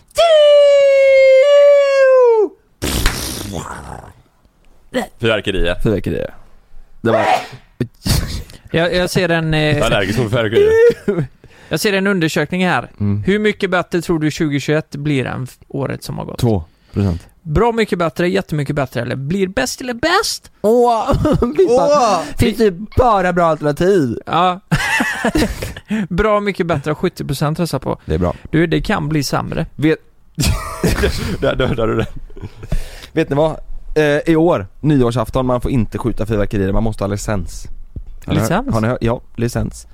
D: Fyrverkerier.
C: Fyrverkerier. Det var...
B: Jag, jag ser en... eh,
D: Jag är allergisk mot fyrverkerier.
B: jag ser en undersökning här.
C: Mm.
B: Hur mycket bättre tror du 2021 blir än f- året som har gått?
C: Två procent.
B: Bra mycket bättre, jättemycket bättre eller blir bäst eller bäst?
C: Åh!
B: Åh!
C: Finns det bara bra alternativ?
B: Ja. Bra mycket bättre, 70% röstar på.
C: Det är bra.
B: Du, det kan bli sämre.
C: Vet...
D: Där dödade du den.
C: Vet ni vad? Eh, I år, nyårsafton, man får inte skjuta fyrverkerier, man måste ha licens. Har ni hört-
B: Licens?
C: Har ni hört? Ja, licens.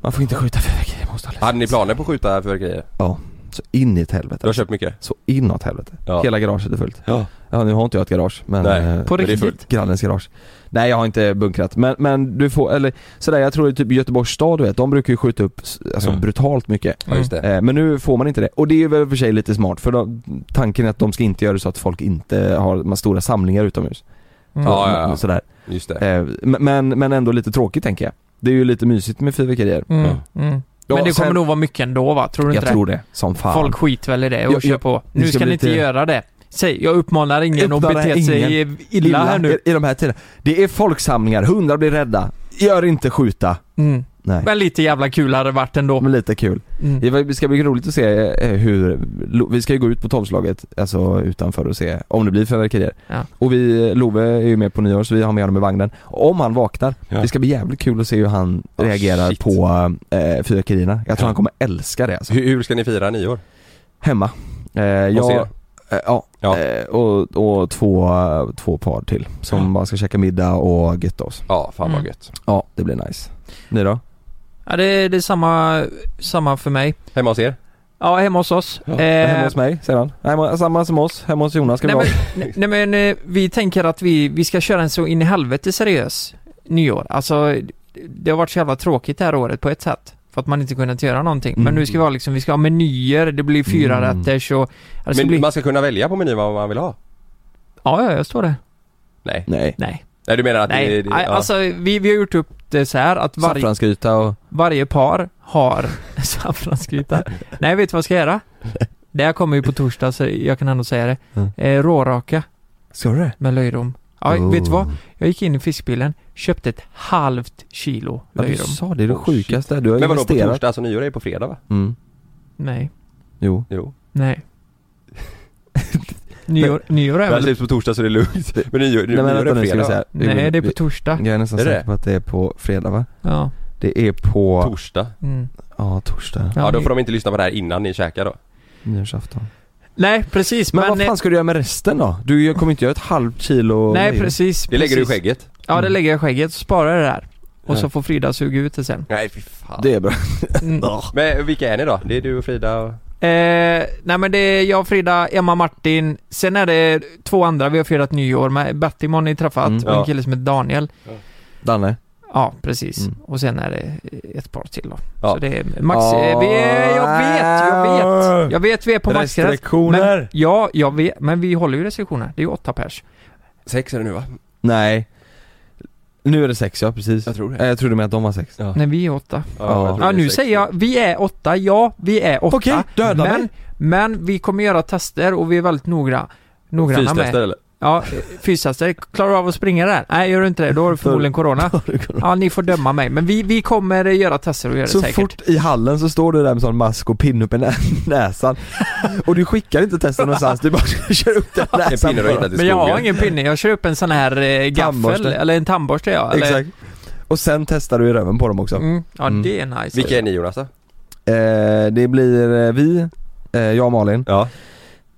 C: Man får inte skjuta fyrverkerier, man måste ha licens.
D: Hade ni planer på att skjuta fyrverkerier?
C: Ja, så in i ett helvete.
D: Du har köpt mycket?
C: Så inåt helvete.
D: Ja.
C: Hela garaget är fullt.
D: Ja.
C: Ja nu har inte jag ett garage men...
D: Nej,
C: eh,
D: på men det är riktigt? fullt.
C: Grannens garage. Nej jag har inte bunkrat men, men du får, eller sådär jag tror typ Göteborgs stad du vet, de brukar ju skjuta upp s- alltså,
D: Mm.
C: brutalt mycket.
D: Ja, just det.
C: Eh, men nu får man inte det. Och det är väl för sig lite smart för då, tanken är att de ska inte göra så att folk inte har de här stora samlingar utomhus.
B: Mm.
C: Så-
D: Ja, ja, ja.
C: Sådär.
D: Just det.
C: Eh, men- men, men ändå lite tråkigt tänker jag. Det är ju lite mysigt med fyrverkerier.
B: Mm.
D: Ja.
B: Mm.
C: Ja,
B: Men det kommer
C: sen-
B: nog vara mycket ändå va? Tror du
C: Jag
B: inte
C: tror det, som fan.
B: Folk skiter väl i det och
C: Jag-
B: kör
C: jag-
B: på.
C: det
B: Nu
C: ska
B: ska
C: bli
B: ni inte
C: lite-
B: göra det. Säg, jag uppmanar ingen att
C: Uppmanar
B: bete sig illa, här nu.
C: I, I de här tiderna. Det är folksamlingar, hundar blir rädda. Gör inte skjuta.
B: Mm.
C: Nej.
B: Men lite jävla kul hade det varit ändå.
C: Men lite kul.
B: Mm.
C: Det var- Det ska bli roligt att se eh, hur, Lo- vi ska ju gå ut på tolvslaget, alltså utanför och se om det blir fyrverkerier.
B: Ja.
C: Och vi, Love är ju med på nyår så vi har med honom i vagnen. Om han vaknar,
D: Ja.
C: det ska bli jävligt kul att se hur han
D: Ah,
C: reagerar
D: shit.
C: på eh, fyrverkerierna. Jag tror
D: Ja.
C: han kommer älska det alltså.
D: Hur, hur ska ni fira nyår?
C: Hemma. Eh, jag,
D: er?
C: eh, ja,
D: Ja.
C: Eh, och, och två, två par till som bara ska käka middag och götta oss.
D: Ja, fan vad
B: Mm.
D: gött.
C: Ja, det blir nice. Ni då?
B: Ja, det, det är samma, samma för mig.
D: Hemma hos er?
B: Ja, hemma hos oss.
D: Ja,
B: Eh,
C: Hemma hos mig säger han. Hemma, samma som oss, hemma hos Jonas ska vi
B: nej,
C: vara.
B: men, nej, nej men eh, vi tänker att vi, vi ska köra en så in i helvete seriös nyår. Alltså, det har varit så jävla tråkigt det här året på ett sätt. För att man inte kunnat göra någonting. Men
C: Mm.
B: nu ska vi ha liksom, vi ska ha menyer, det blir fyra
C: Mm.
B: rätters och... ja, Det ska
D: Men
B: bli,
D: man ska kunna välja på menyn vad man vill ha?
B: ja, ja, jag står där.
D: Nej.
C: Nej.
B: Nej.
D: Nej du menar att
B: Nej,
D: det, det,
B: nej,
D: ja.
B: alltså vi, vi har gjort upp det så här att varje...
C: Saffransgryta och...
B: Varje par har saffransgryta. Nej, vet du vad jag ska göra? Det här kommer ju på torsdag så jag kan ändå säga det.
C: Mm.
B: Eh, råraka
C: Ska du det?
B: med löjrom. Ja,
C: Oh.
B: vet du vad? Jag gick in i fiskbilen, köpte ett halvt kilo
C: Ja, du
B: löjrom.
C: sa det, det är det sjukaste. Du har
D: Men vadå på
C: investerat.
D: torsdag? Alltså nyår är på fredag va?
C: Mm.
B: Nej,
C: Jo.
D: Jo.
B: nej. Nyår, nyår
D: Det
B: är
D: här
B: väl...
D: släpps på torsdag så det är lugnt. Men nyår,
C: Nej men
D: nyår
C: vänta nu
D: är
C: ska vi
D: fredag va?
C: säga.
B: Nej, det är på torsdag.
C: Jag är nästan
D: Är det
C: säker
D: det?
C: på att det är på fredag va?
B: Ja.
C: Det är på...
D: Torsdag?
B: Mm.
C: ja, torsdag.
D: Ja, då
B: ni-
D: får de inte lyssna på det här innan ni käkar då.
C: Nyårsafton.
B: Nej, precis.
C: Men,
B: Men, eh,
C: vad fan ska du göra med resten då? Du gör- kommer inte göra ett halvt kilo
B: nej,
C: löjrom.
B: precis.
D: Det lägger du i
B: precis.
D: skägget.
B: Ja,
C: Mm.
B: det lägger jag i skägget. Sparar det där. Och
D: Ja.
B: så får Frida suga ut det sen.
D: Nej fy fan.
C: Det är bra.
B: Mm.
D: Men vilka är ni då? Det är du och Frida och...
B: Eh, nej men det är jag, Frida, Emma, Martin. Sen är det två andra vi har firat nyår med. Battimon har ni träffat
C: Mm.
B: och en
D: Ja.
B: kille som heter Daniel.
C: Danne?
B: Ja, precis.
C: Mm.
B: Och sen är det ett par till då.
D: Ja.
B: Så det är max... eh, Vi är, jag vet, jag vet. Jag vet vi är på maxgräns. Men, ja, jag vet. Men vi håller ju restriktioner. Det är ju åtta pers.
D: Sex är det nu va?
C: Nej. Nu är det sex ja, precis.
D: Jag tror det.
C: Eh, Jag trodde med att de var sex.
D: Ja.
B: Nej, vi är åtta.
D: jag tror
B: Ja,
D: det är
B: nu
D: sex.
B: säger jag, vi är åtta. Ja, vi är åtta.
C: Okej, döda
B: men,
C: mig.
B: men vi kommer göra tester och vi är väldigt noggranna. Noggranna med.
D: Fystester eller?
B: Ja, fysaste. Klarar du av att springa där? Nej, gör du inte det, då har du förmodligen corona. Ja, ni får döma mig. Men vi, vi kommer eh, göra tester och göra
C: Så
B: det säkert.
C: fort i hallen så står du där med sån mask och pinne upp i nä näsan Och du skickar inte testen någonstans, du bara kör upp den
D: En
C: näsan
D: pinne du har hittat
B: Men
D: i skogen.
B: jag har ingen pinne, jag kör upp en sån här eh, gaffel,
C: Tandborste.
B: eller en tandborste ja. Eller,
C: Exakt Och sen testar du i röven på dem också
B: Mm, ja,
C: Mm.
B: det är nice.
D: Vilka är ni Jonas då?
C: eh, Det blir eh, vi, eh, jag och Malin,
D: Ja.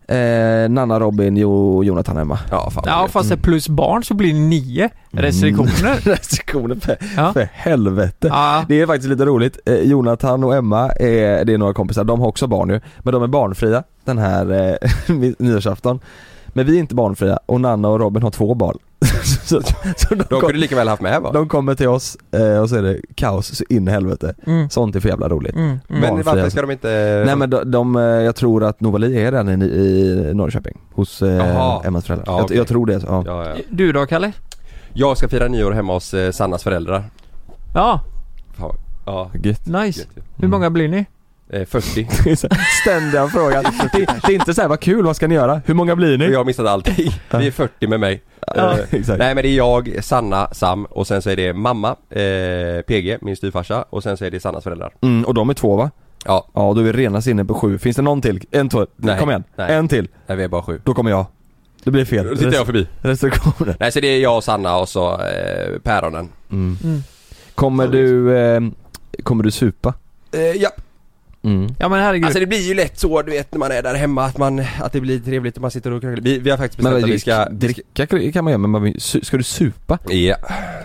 C: eh, Nanna, Robin, jo, och Jonathan hemma
D: Ja fan vad
B: Ja,
D: gött.
B: fast det är plus barn så blir det nio restriktioner.
C: Restriktioner för,
B: Ja.
C: för helvete
B: Ja.
C: Det är faktiskt lite roligt, eh, Jonathan och Emma, är, det är några kompisar, de har också barn ju Men de är barnfria den här eh, nyårsafton Men vi är inte barnfria och Nanna och Robin har två barn så, så de,
D: De kunde lika väl haft med va?
C: de kommer till oss eh, och så är det kaos så in i helvete.
D: Mm.
C: Sånt är för jävla roligt.
D: Mm, mm. Men
C: Barnfria-
D: varför ska de inte...
C: Nej men de, de, eh, jag tror att Novali är redan i, i Norrköping hos
D: Jaha.
C: eh, Emmas föräldrar.
D: Ja,
C: jag,
D: okej.
C: jag tror det. Ja.
D: Ja, ja.
B: Du då Kalle?
D: Jag ska fira nyår hemma hos eh, Sannas föräldrar.
B: Ja,
D: Fan, vad- Ja.
C: Gött.
B: nice.
D: Gött,
B: Hur många blir ni?
D: Eh, 40.
C: Ständiga frågan. Det, det är inte så här, vad kul, vad ska ni göra? Hur många
B: Mm.
C: blir ni?
D: Jag har missat allting. Vi är 40 med mig.
C: Ja,
D: Eh,
C: exakt.
D: Nej men det är jag, Sanna, Sam och sen så är det mamma, eh, PG, min styvfarsa och sen så är det Sannas föräldrar.
C: Mm, och de är två va?
D: Ja.
C: Ja, då är vi rena sinnen på sju. Finns det någon till? En, två,
D: Nej.
C: kom igen.
D: Nej.
C: En till.
D: Nej vi är bara sju.
C: Då kommer jag. Det blir fel.
D: Då tittar jag förbi.
C: Restriktioner.
D: Nej så det är jag, Sanna och så eh, päronen.
C: Mm. Kommer du, eh, kommer du supa?
D: Eh, ja.
C: Mm.
B: Ja men herregud.
D: Alltså det blir ju lätt så du vet när man är där hemma att man, att det blir trevligt och man sitter och krökar. Vi, vi har faktiskt bestämt att vi ska...
C: dricka kan man göra men man, vill- su- ska du supa?
D: Ja.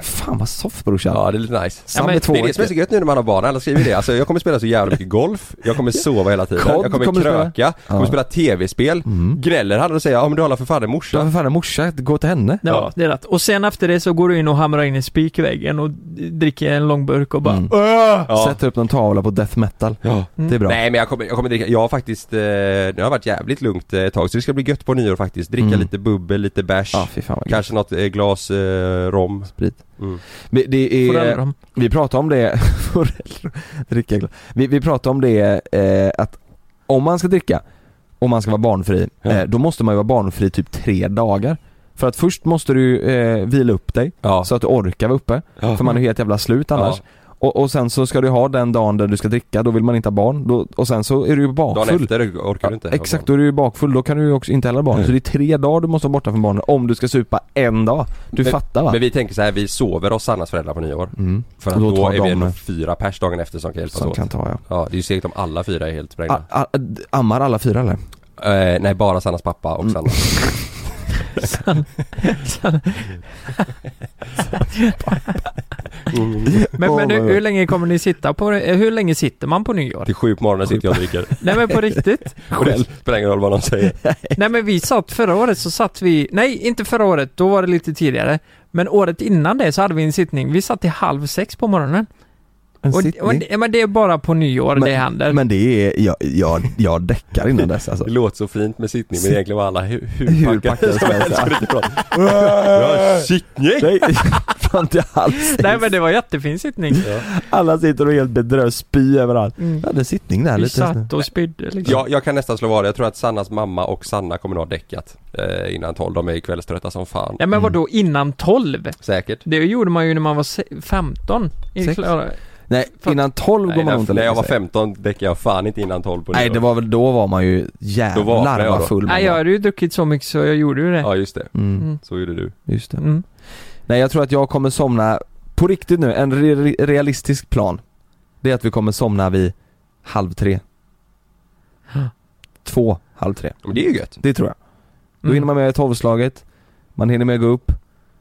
C: Fan vad soft brorsan.
D: Ja det är lite nice.
C: Sam är två
D: det är det som är så gött nu när man har barn, alla skriver det. Alltså jag kommer spela så jävla mycket golf, jag kommer sova hela tiden,
C: Kod
D: jag kommer,
C: kommer du spela.
D: kröka, jag kommer
C: Ja.
D: spela tv-spel. Gnäller han och säger ja men du har alla för fan en
C: Du har
D: morsa.
C: Mm. för fan en morsa, gå till henne.
B: Ja, det är rätt. Och sen efter det så går du in och hamrar in en spik i väggen och d- dricker en lång burk och bara
C: Mm.
B: "Åh!"
D: Ja.
C: Sätter upp någon tavla på death metal.
D: Ja.
C: Det är bra.
D: Nej men jag kommer, jag kommer dricka, jag har faktiskt, eh, nu har jag varit jävligt lugnt eh, ett tag så det ska bli gött på nyår faktiskt. Dricka
C: Mm.
D: lite bubbel, lite bärs,
C: Ja, fy fan vad gött.
D: kanske något eh, glas eh, rom.
C: Sprit.
D: Mm.
C: Men Det är,
B: Föräldrar.
C: vi pratade om det, Forell- dricka glas. vi, vi pratade om det eh, att om man ska dricka, om man ska vara barnfri,
D: Ja.
C: eh, då måste man ju vara barnfri typ tre dagar. För att först måste du eh, vila upp dig,
D: Ja.
C: så att du orkar vara uppe.
D: Ja.
C: För man är helt jävla slut annars.
D: Ja.
C: Och, och sen så ska du ha den dagen där du ska dricka, då vill man inte ha barn. Då, och sen så är du ju
D: Dagen
C: bakfull.
D: efter orkar du inte.
C: Ja, Exakt, då är du ju bakfull, då kan du ju också inte heller ha barn. Så det är tre dagar du måste vara borta från barnen om du ska supa en dag. Du
D: Men-
C: fattar va?
D: Men vi tänker så här, vi sover hos Sannas föräldrar på nyår.
C: Mm.
D: För att
C: Och
D: då,
C: då tar
D: är vi
C: de-
D: ändå fyra pers dagen efter som kan hjälpas
C: Som
D: åt.
C: kan ta ja.
D: Ja, det är ju segt om alla fyra är helt sprängda.
C: A- a- ammar alla fyra eller?
D: Eh, nej, bara Sannas pappa
C: Mm.
D: och Sanna.
B: Men, men
C: Åh,
B: hur,
C: vad-
B: hur länge kommer ni sitta på det? Hur länge sitter man på nyår?
D: Till sju på morgonen sitter jag och dricker.
B: Nej men på riktigt?
D: Och det spelar ingen roll vad någon säger.
B: Nej men vi satt förra året så satt vi, nej inte förra året, då var det lite tidigare. Men året innan det så hade vi en sittning, vi satt till halv sex på morgonen.
C: En
B: Och,
C: sittning?
B: och, ja, men det är bara på nyår det händer.
C: Men det är, jag, jag, jag däckar innan dess alltså.
D: Det låter så fint med sittning men egentligen var alla hu-
C: Hur
D: hur
C: packade
D: packade som
C: som helst.
D: helst. Ja, Sittning!
C: Nej, fan inte alls.
B: Nej men det var jättefin sittning. Mm.
C: Alla sitter och är helt bedrövda, spy överallt. Jag hade en sittning där
B: Vi
C: lite snö.
B: satt och spydde liksom.
D: Jag, jag kan nästan slå vad, jag tror att Sannas mamma och Sanna kommer nog ha däckat eh, innan tolv. De är kvällströtta som fan.
B: Nej
C: Mm.
B: men vadå innan tolv?
D: Säkert.
B: Det gjorde man ju när man var se- 15. I
C: Sex.
B: klara-
C: Nej,
B: Fan.
C: innan tolv går
D: Nej,
C: man nog inte och
D: när, när jag
C: lägger
D: var
C: sig.
D: 15 däckade jag fan inte innan tolv på
C: Nej
D: nyår.
C: det var väl, då var man ju
D: Då vaknade
C: jävlar
D: jag då.
C: vad full man
B: Nej jag
C: var.
B: hade ju druckit så mycket så jag gjorde ju det.
D: Ja just det,
C: Mm,
B: Mm.
D: så gjorde du.
C: just det.
B: Mm.
C: Nej jag tror att jag kommer somna, på riktigt nu, en re- realistisk plan. Det är att vi kommer somna vid halv tre. Två, halv tre.
D: Men det är ju gött.
C: Det tror jag. Då
D: Mm.
C: hinner man med tolvslaget, man hinner med att gå upp,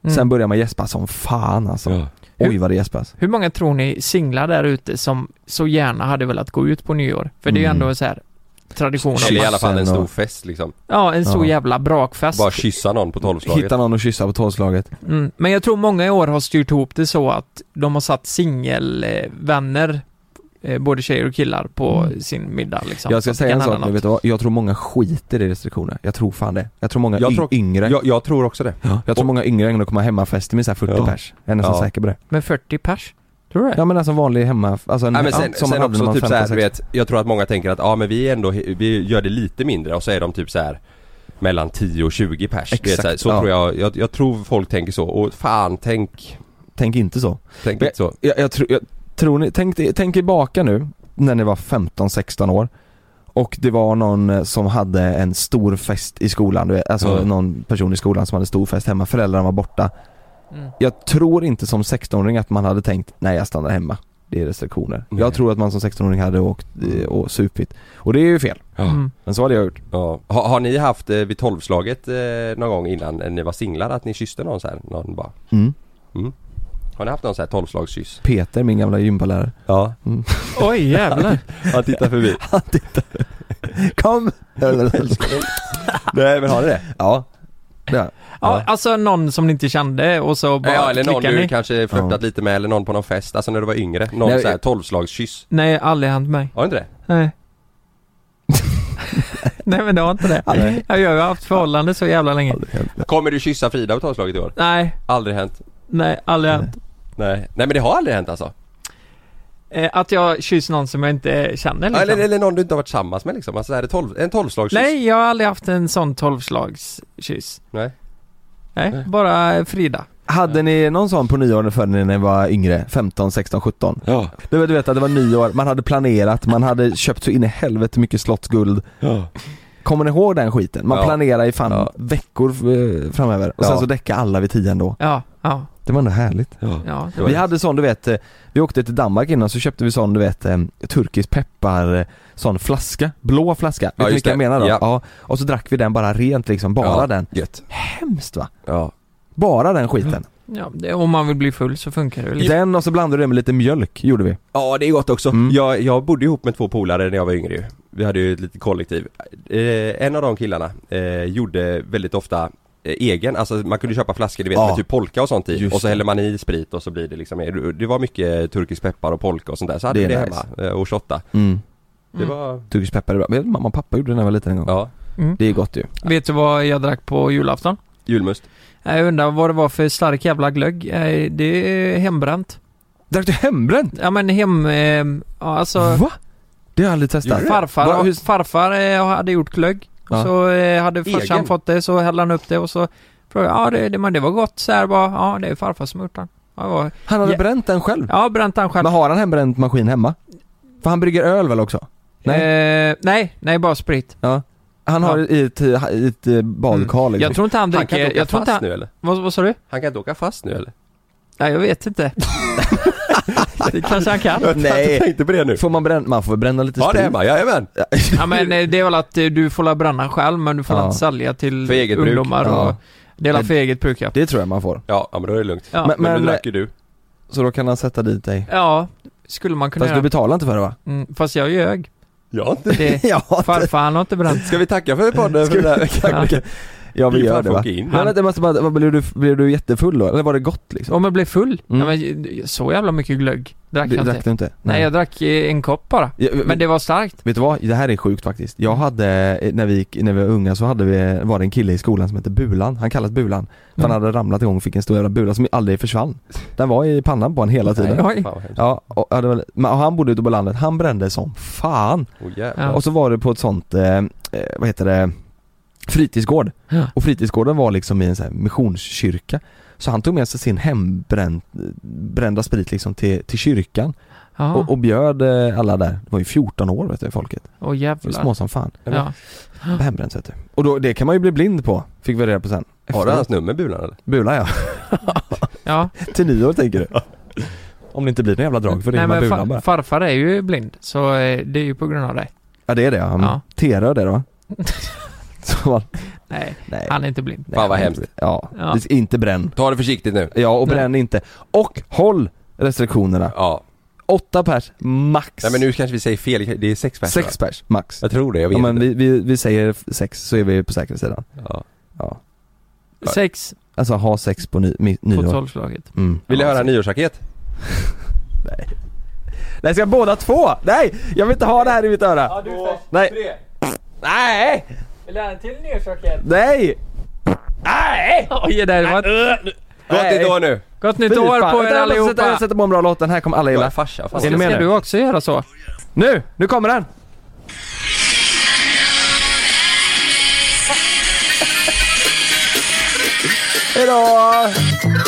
B: Mm.
C: sen börjar man gäspa som fan alltså.
D: Ja.
C: Oj vad det gäspas.
B: Hur många tror ni singlar där ute som så gärna hade velat gå ut på nyår? För det är ju
C: Mm.
B: ändå så här tradition.
C: Kyss.
D: Eller i alla fall en
C: Kyssen
D: stor
C: och-
D: fest liksom.
B: Ja, en stor
C: Ja.
B: jävla brakfest.
D: Bara kyssa någon på tolvslaget.
C: Hitta någon att kyssa på tolvslaget.
B: Mm. Men jag tror många i år har styrt ihop det så att de har satt singelvänner, eh, både tjejer och killar, på sin middag liksom.
C: Mm. Jag ska
B: Så att det
C: säga en
B: kan
C: sak
B: hända
C: nu, vet
B: något.
C: du vad? Jag tror många skiter i restriktioner. Jag tror fan det. Jag tror många
D: Jag
C: y-
D: tror-
C: yngre, jag,
D: Jag, jag tror också det.
C: tror många yngre ägnar kommer hemmafester med så här 40
D: Ja.
C: pers. Jag är nästan
D: Ja.
C: säker på det.
B: Men 40 pers? Tror du det?
C: Ja men alltså vanlig hemma, alltså en,
D: Nej, men sen,
C: ja, som man
D: sen
C: hade när
D: också
C: man
D: typ
C: var
D: så här, du
C: 15,
D: vet, jag tror att många tänker att ja men vi är ändå, vi gör det lite mindre och så är de typ så här mellan 10 och 20 pers. Du vet,
C: Exakt,
D: så här, så
C: ja.
D: tror jag, jag, jag tror folk tänker så och fan tänk,
C: Tänk inte så.
D: tänk inte så.
C: Jag, jag, tror- jag tror ni, tänk, tänk tillbaka nu när ni var 15-16 år och det var någon eh, som hade en stor fest i skolan, du vet, alltså
D: Ja.
C: någon person i skolan som hade stor fest hemma, föräldrarna var borta.
B: Mm.
C: Jag tror inte som 16-åring att man hade tänkt, nej jag stannar hemma. Det är restriktioner.
D: Nej.
C: Jag tror att man som 16-åring hade åkt eh, och supit. Och det är ju fel.
D: Ja.
B: Mm.
C: Men så hade jag gjort.
D: Ja. Har, har ni haft eh, vid tolvslaget eh, någon gång innan eh, ni var singlar att ni kysste någon så här? Någon bara,
C: Mm.
D: har ni haft någon så här tolvslagskyss?
C: Peter, min gamla gympalärare.
D: Ja,
B: Oj jävlar.
D: han tittar förbi.
C: Han tittade. Kom!
D: Nej men har ni det?
C: Ja. Ja.
B: Ja, alltså någon som ni inte kände och så bara
D: Ja eller någon
B: klickar
D: du
B: ni.
D: kanske flörtat
B: Ja.
D: lite med eller någon på någon fest, alltså när du var yngre. Någon
B: Nej.
D: såhär tolvslagskyss.
B: Nej, aldrig hänt mig.
D: Har du inte det?
B: Nej. Nej men det har inte det.
D: Nej.
B: Jag har ju haft förhållande så jävla länge.
D: Kommer du kyssa Frida på tolvslaget i år?
B: Nej,
D: Aldrig hänt?
B: nej, aldrig hänt.
D: Nej. Nej men det har aldrig hänt alltså?
B: Eh, att jag kysser någon som jag inte känner
D: Eller,
B: liksom.
D: eller, någon du inte har varit tillsammans med liksom? Alltså är det tolv, en tolvslagskyss?
B: Nej, jag har aldrig haft en sån tolvslagskyss.
D: Nej.
B: Nej, bara Frida.
C: Hade ni någon sån på nyår för när ni var yngre? 15, 16, 17?
D: Ja.
C: Du vet, du vet att det var nyår, man hade planerat, man hade köpt så in i helvete mycket slottsguld. Ja. Kommer ni ihåg den skiten? Man
B: Ja.
C: planerade i fan veckor eh, framöver och sen
B: Ja.
C: så däckade alla vid tio ändå.
B: Ja, ja.
C: Det var ändå härligt.
B: Ja.
C: Vi hade sån du vet, eh, vi åkte till Danmark innan så köpte vi sån du vet eh, turkisk peppar, eh, sån flaska, blå flaska. Vet
D: Ja,
C: du
D: just
C: vilka jag
D: det.
C: menar då?
D: Ja.
C: Och så drack vi den bara rent liksom, bara
D: Ja,
C: den.
D: Gött.
C: Hemskt va?
D: Ja.
C: Bara den skiten.
B: Ja, det, om man vill bli full så funkar det väl.
C: Den och så blandade du det med lite mjölk, gjorde vi.
D: Ja det är gott också. Jag, jag bodde ihop med två polare när jag var yngre ju. Vi hade ju ett litet kollektiv. Eh, en av de killarna eh, gjorde väldigt ofta eh, egen, alltså man kunde köpa flaskor du vet
C: Ja.
D: med typ polka och sånt i
C: Just
D: och så
C: det.
D: häller man i sprit och så blir det liksom, det var mycket turkisk peppar och polka och sånt där så hade
C: Det
D: vi
C: är
D: det
C: nice.
D: hemma eh, och shotta.
C: Mm.
D: Det var,
C: Turkisk peppar är bra. Vet du, Mamma och pappa gjorde det när jag var liten en gång.
D: Ja.
B: Mm.
C: Det är gott ju.
B: Vet du vad jag drack på julafton?
D: julmust.
B: Jag undrar vad det var för stark jävla glögg. Eh, Det är hembränt.
C: Drack du hembränt?
B: Ja men hem... Eh, ja, alltså...
C: Va? Det har jag aldrig testat.
B: Farfar,
C: Va, hur-
B: farfar eh, hade gjort glögg.
C: Ja.
B: Så eh, hade farsan
C: Egen?
B: fått det så hällde han upp det och så frågade jag, ja det, det, men det var gott så här bara, ja det är farfar som gjort den. Ja, det var-
C: Han hade
B: Ja.
C: bränt den själv?
B: Ja, bränt den själv.
C: Men har han hembränt maskin hemma? För han brygger öl väl också? Nej?
B: Eh, nej, nej bara sprit.
C: Ja. Han har
B: Ja. Mm.
C: i ett, i ett eh, badkar liksom.
B: Jag tror inte han
D: Han kan inte
B: dricker...
D: åka
B: Jag tror inte
D: fast
B: han,
D: nu eller?
B: Vad, vad sa du?
D: Han kan inte åka fast nu eller?
B: Nej jag vet inte. det kanske han kan.
C: Nej.
D: tänkte på det nu.
C: Får man bränna, man får väl bränna lite
D: Ja det
C: sprit?
D: är man, jajamän!
B: Ja men eh, det är väl att eh, du får la bränna själv men du får
C: Ja.
B: la inte sälja till
D: För eget bruk.
B: ungdomar
C: Ja.
B: och... Det är la för eget bruk ja.
C: Det tror jag man får.
D: Ja, ja men då är det lugnt.
B: Ja.
D: Men,
C: Men-
D: men nu
C: men-
D: drack ju du.
C: Så då kan han sätta dit dig.
B: Ja, skulle man kunna
C: Fast du
B: göra.
C: betalar inte för det va?
B: Mm, fast jag ljög.
D: Ja inte.
B: Det,
C: Ja, det-
B: farfar han har inte bränt.
D: Ska vi tacka för podden för den här veckan?
B: Ja.
C: Ja vi
D: Det är
C: gör
D: fan
C: det va?
D: folk in.
C: Men vänta, jag måste bara, vad, blev, du, blev du jättefull då? Eller var det gott liksom?
B: Om jag blev full?
C: Mm.
B: Nej, men så jävla mycket glögg drack
C: Du-
B: jag
C: drack
B: inte.
C: du inte?
B: Nej, jag drack eh, en kopp bara.
C: Ja,
B: Men det var starkt.
C: Vet du vad? Det här är sjukt faktiskt. Jag hade, eh, när vi, gick, när vi var unga så hade vi, eh, var det en kille i skolan som hette Bulan, han kallas Bulan. För Han
B: Mm.
C: hade ramlat igång och fick en stor jävla bula som aldrig försvann. Den var i pannan på honom hela tiden.
B: Oj.
D: Fan vad hemskt.
C: Ja, och, ja, det var, men han bodde ute på landet, han brände som fan.
D: Åh jävlar.
B: Ja.
C: Och så var det på ett sånt, eh, eh, vad heter det, fritidsgård.
B: Ja.
C: Och fritidsgården var liksom i en sån här missionskyrka. Så han tog med sig sin hembrända sprit liksom till, till kyrkan
B: Jaha.
C: och, och bjöd eh, alla där. Det var ju 14 år vet du, folket.
B: Åh
C: Det var
B: jävlar.
C: små som fan.
B: Ja.
C: Hembränt vet du. Och då, det kan man ju bli blind på, fick vi reda på sen.
D: Har du
C: Efteråt.
D: hans nummer Bulan eller?
C: Bula ja.
B: ja.
C: till nyår tänker du. Om det inte blir någon jävla drag för det
B: Nej
C: med
B: men
C: bulan
B: fa-
C: bara.
B: farfar är ju blind. Så eh, det är ju på grund av det.
C: Ja det är det ja.
B: Ja.
C: ja. T-röd är det va? Så, man-
B: Nej,
C: nej.
B: han är inte blind.
C: nej,
D: Fan, vad hemskt.
C: Ja.
B: Ja.
C: Det- Inte bränn.
D: Ta det försiktigt nu.
C: Ja och bränn inte. Och håll restriktionerna.
D: Ja.
C: Åtta pers max.
D: Nej men nu kanske vi säger fel, det är sex personer.
C: Sex pers max.
D: Jag tror det, jag vet
C: Ja men
D: inte.
C: vi, vi, vi säger f- sex så är vi på säkra sidan.
D: Ja.
C: Ja.
B: Sex
C: Alltså ha sex på ny, mi,
B: på
C: nyår.
B: tolvslaget.
C: Mm.
D: Vill du höra en nyårsraket?
C: Nej ska jag båda två? Nej! Jag vill inte ha det här i mitt öra. Nej. Nej!
B: Vill du ha en till nyårsraket?
C: Nej! Nej!
B: Oj, det var ett
D: Gott
C: Nej.
D: nytt år nu!
B: gott
C: Fy
B: nytt år
C: fan.
B: på er
C: Vänta, jag måste sätta-
B: allihopa.
C: Jag sätter på en bra låt, den här kommer alla
D: Jag
C: gilla.
D: är farsa, fan.
C: Är ni med
B: Ska
C: nu?
B: du också göra så?
C: Nu! Nu kommer den! Hejdå!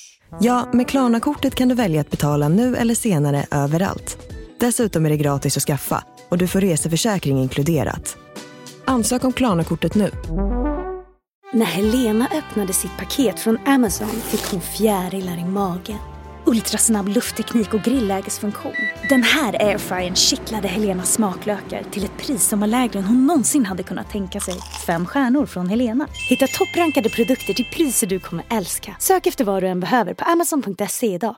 A: Ja, med Klarna-kortet kan du välja att betala nu eller senare överallt. Dessutom är det gratis att skaffa och du får reseförsäkring inkluderat. Ansök om Klarna-kortet nu.
H: När Helena öppnade sitt paket från Amazon fick hon fjärilar i magen. Ultrasnabb luftteknik och grillägesfunktion. Den här airfryern kittlade Helenas smaklökar till ett pris som var lägre än hon någonsin hade kunnat tänka sig. Fem stjärnor från Helena. Hitta topprankade produkter till priser du kommer älska. Sök efter vad du än behöver på amazon.se idag.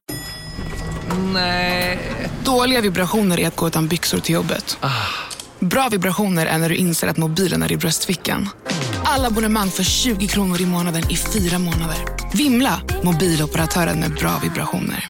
I: Nej. Dåliga vibrationer är att gå utan byxor till jobbet. Bra vibrationer är när du inser att mobilen är i bröstfickan. Alla abonnemang för 20 kronor i månaden i fyra månader. Vimla! Mobiloperatören med bra vibrationer.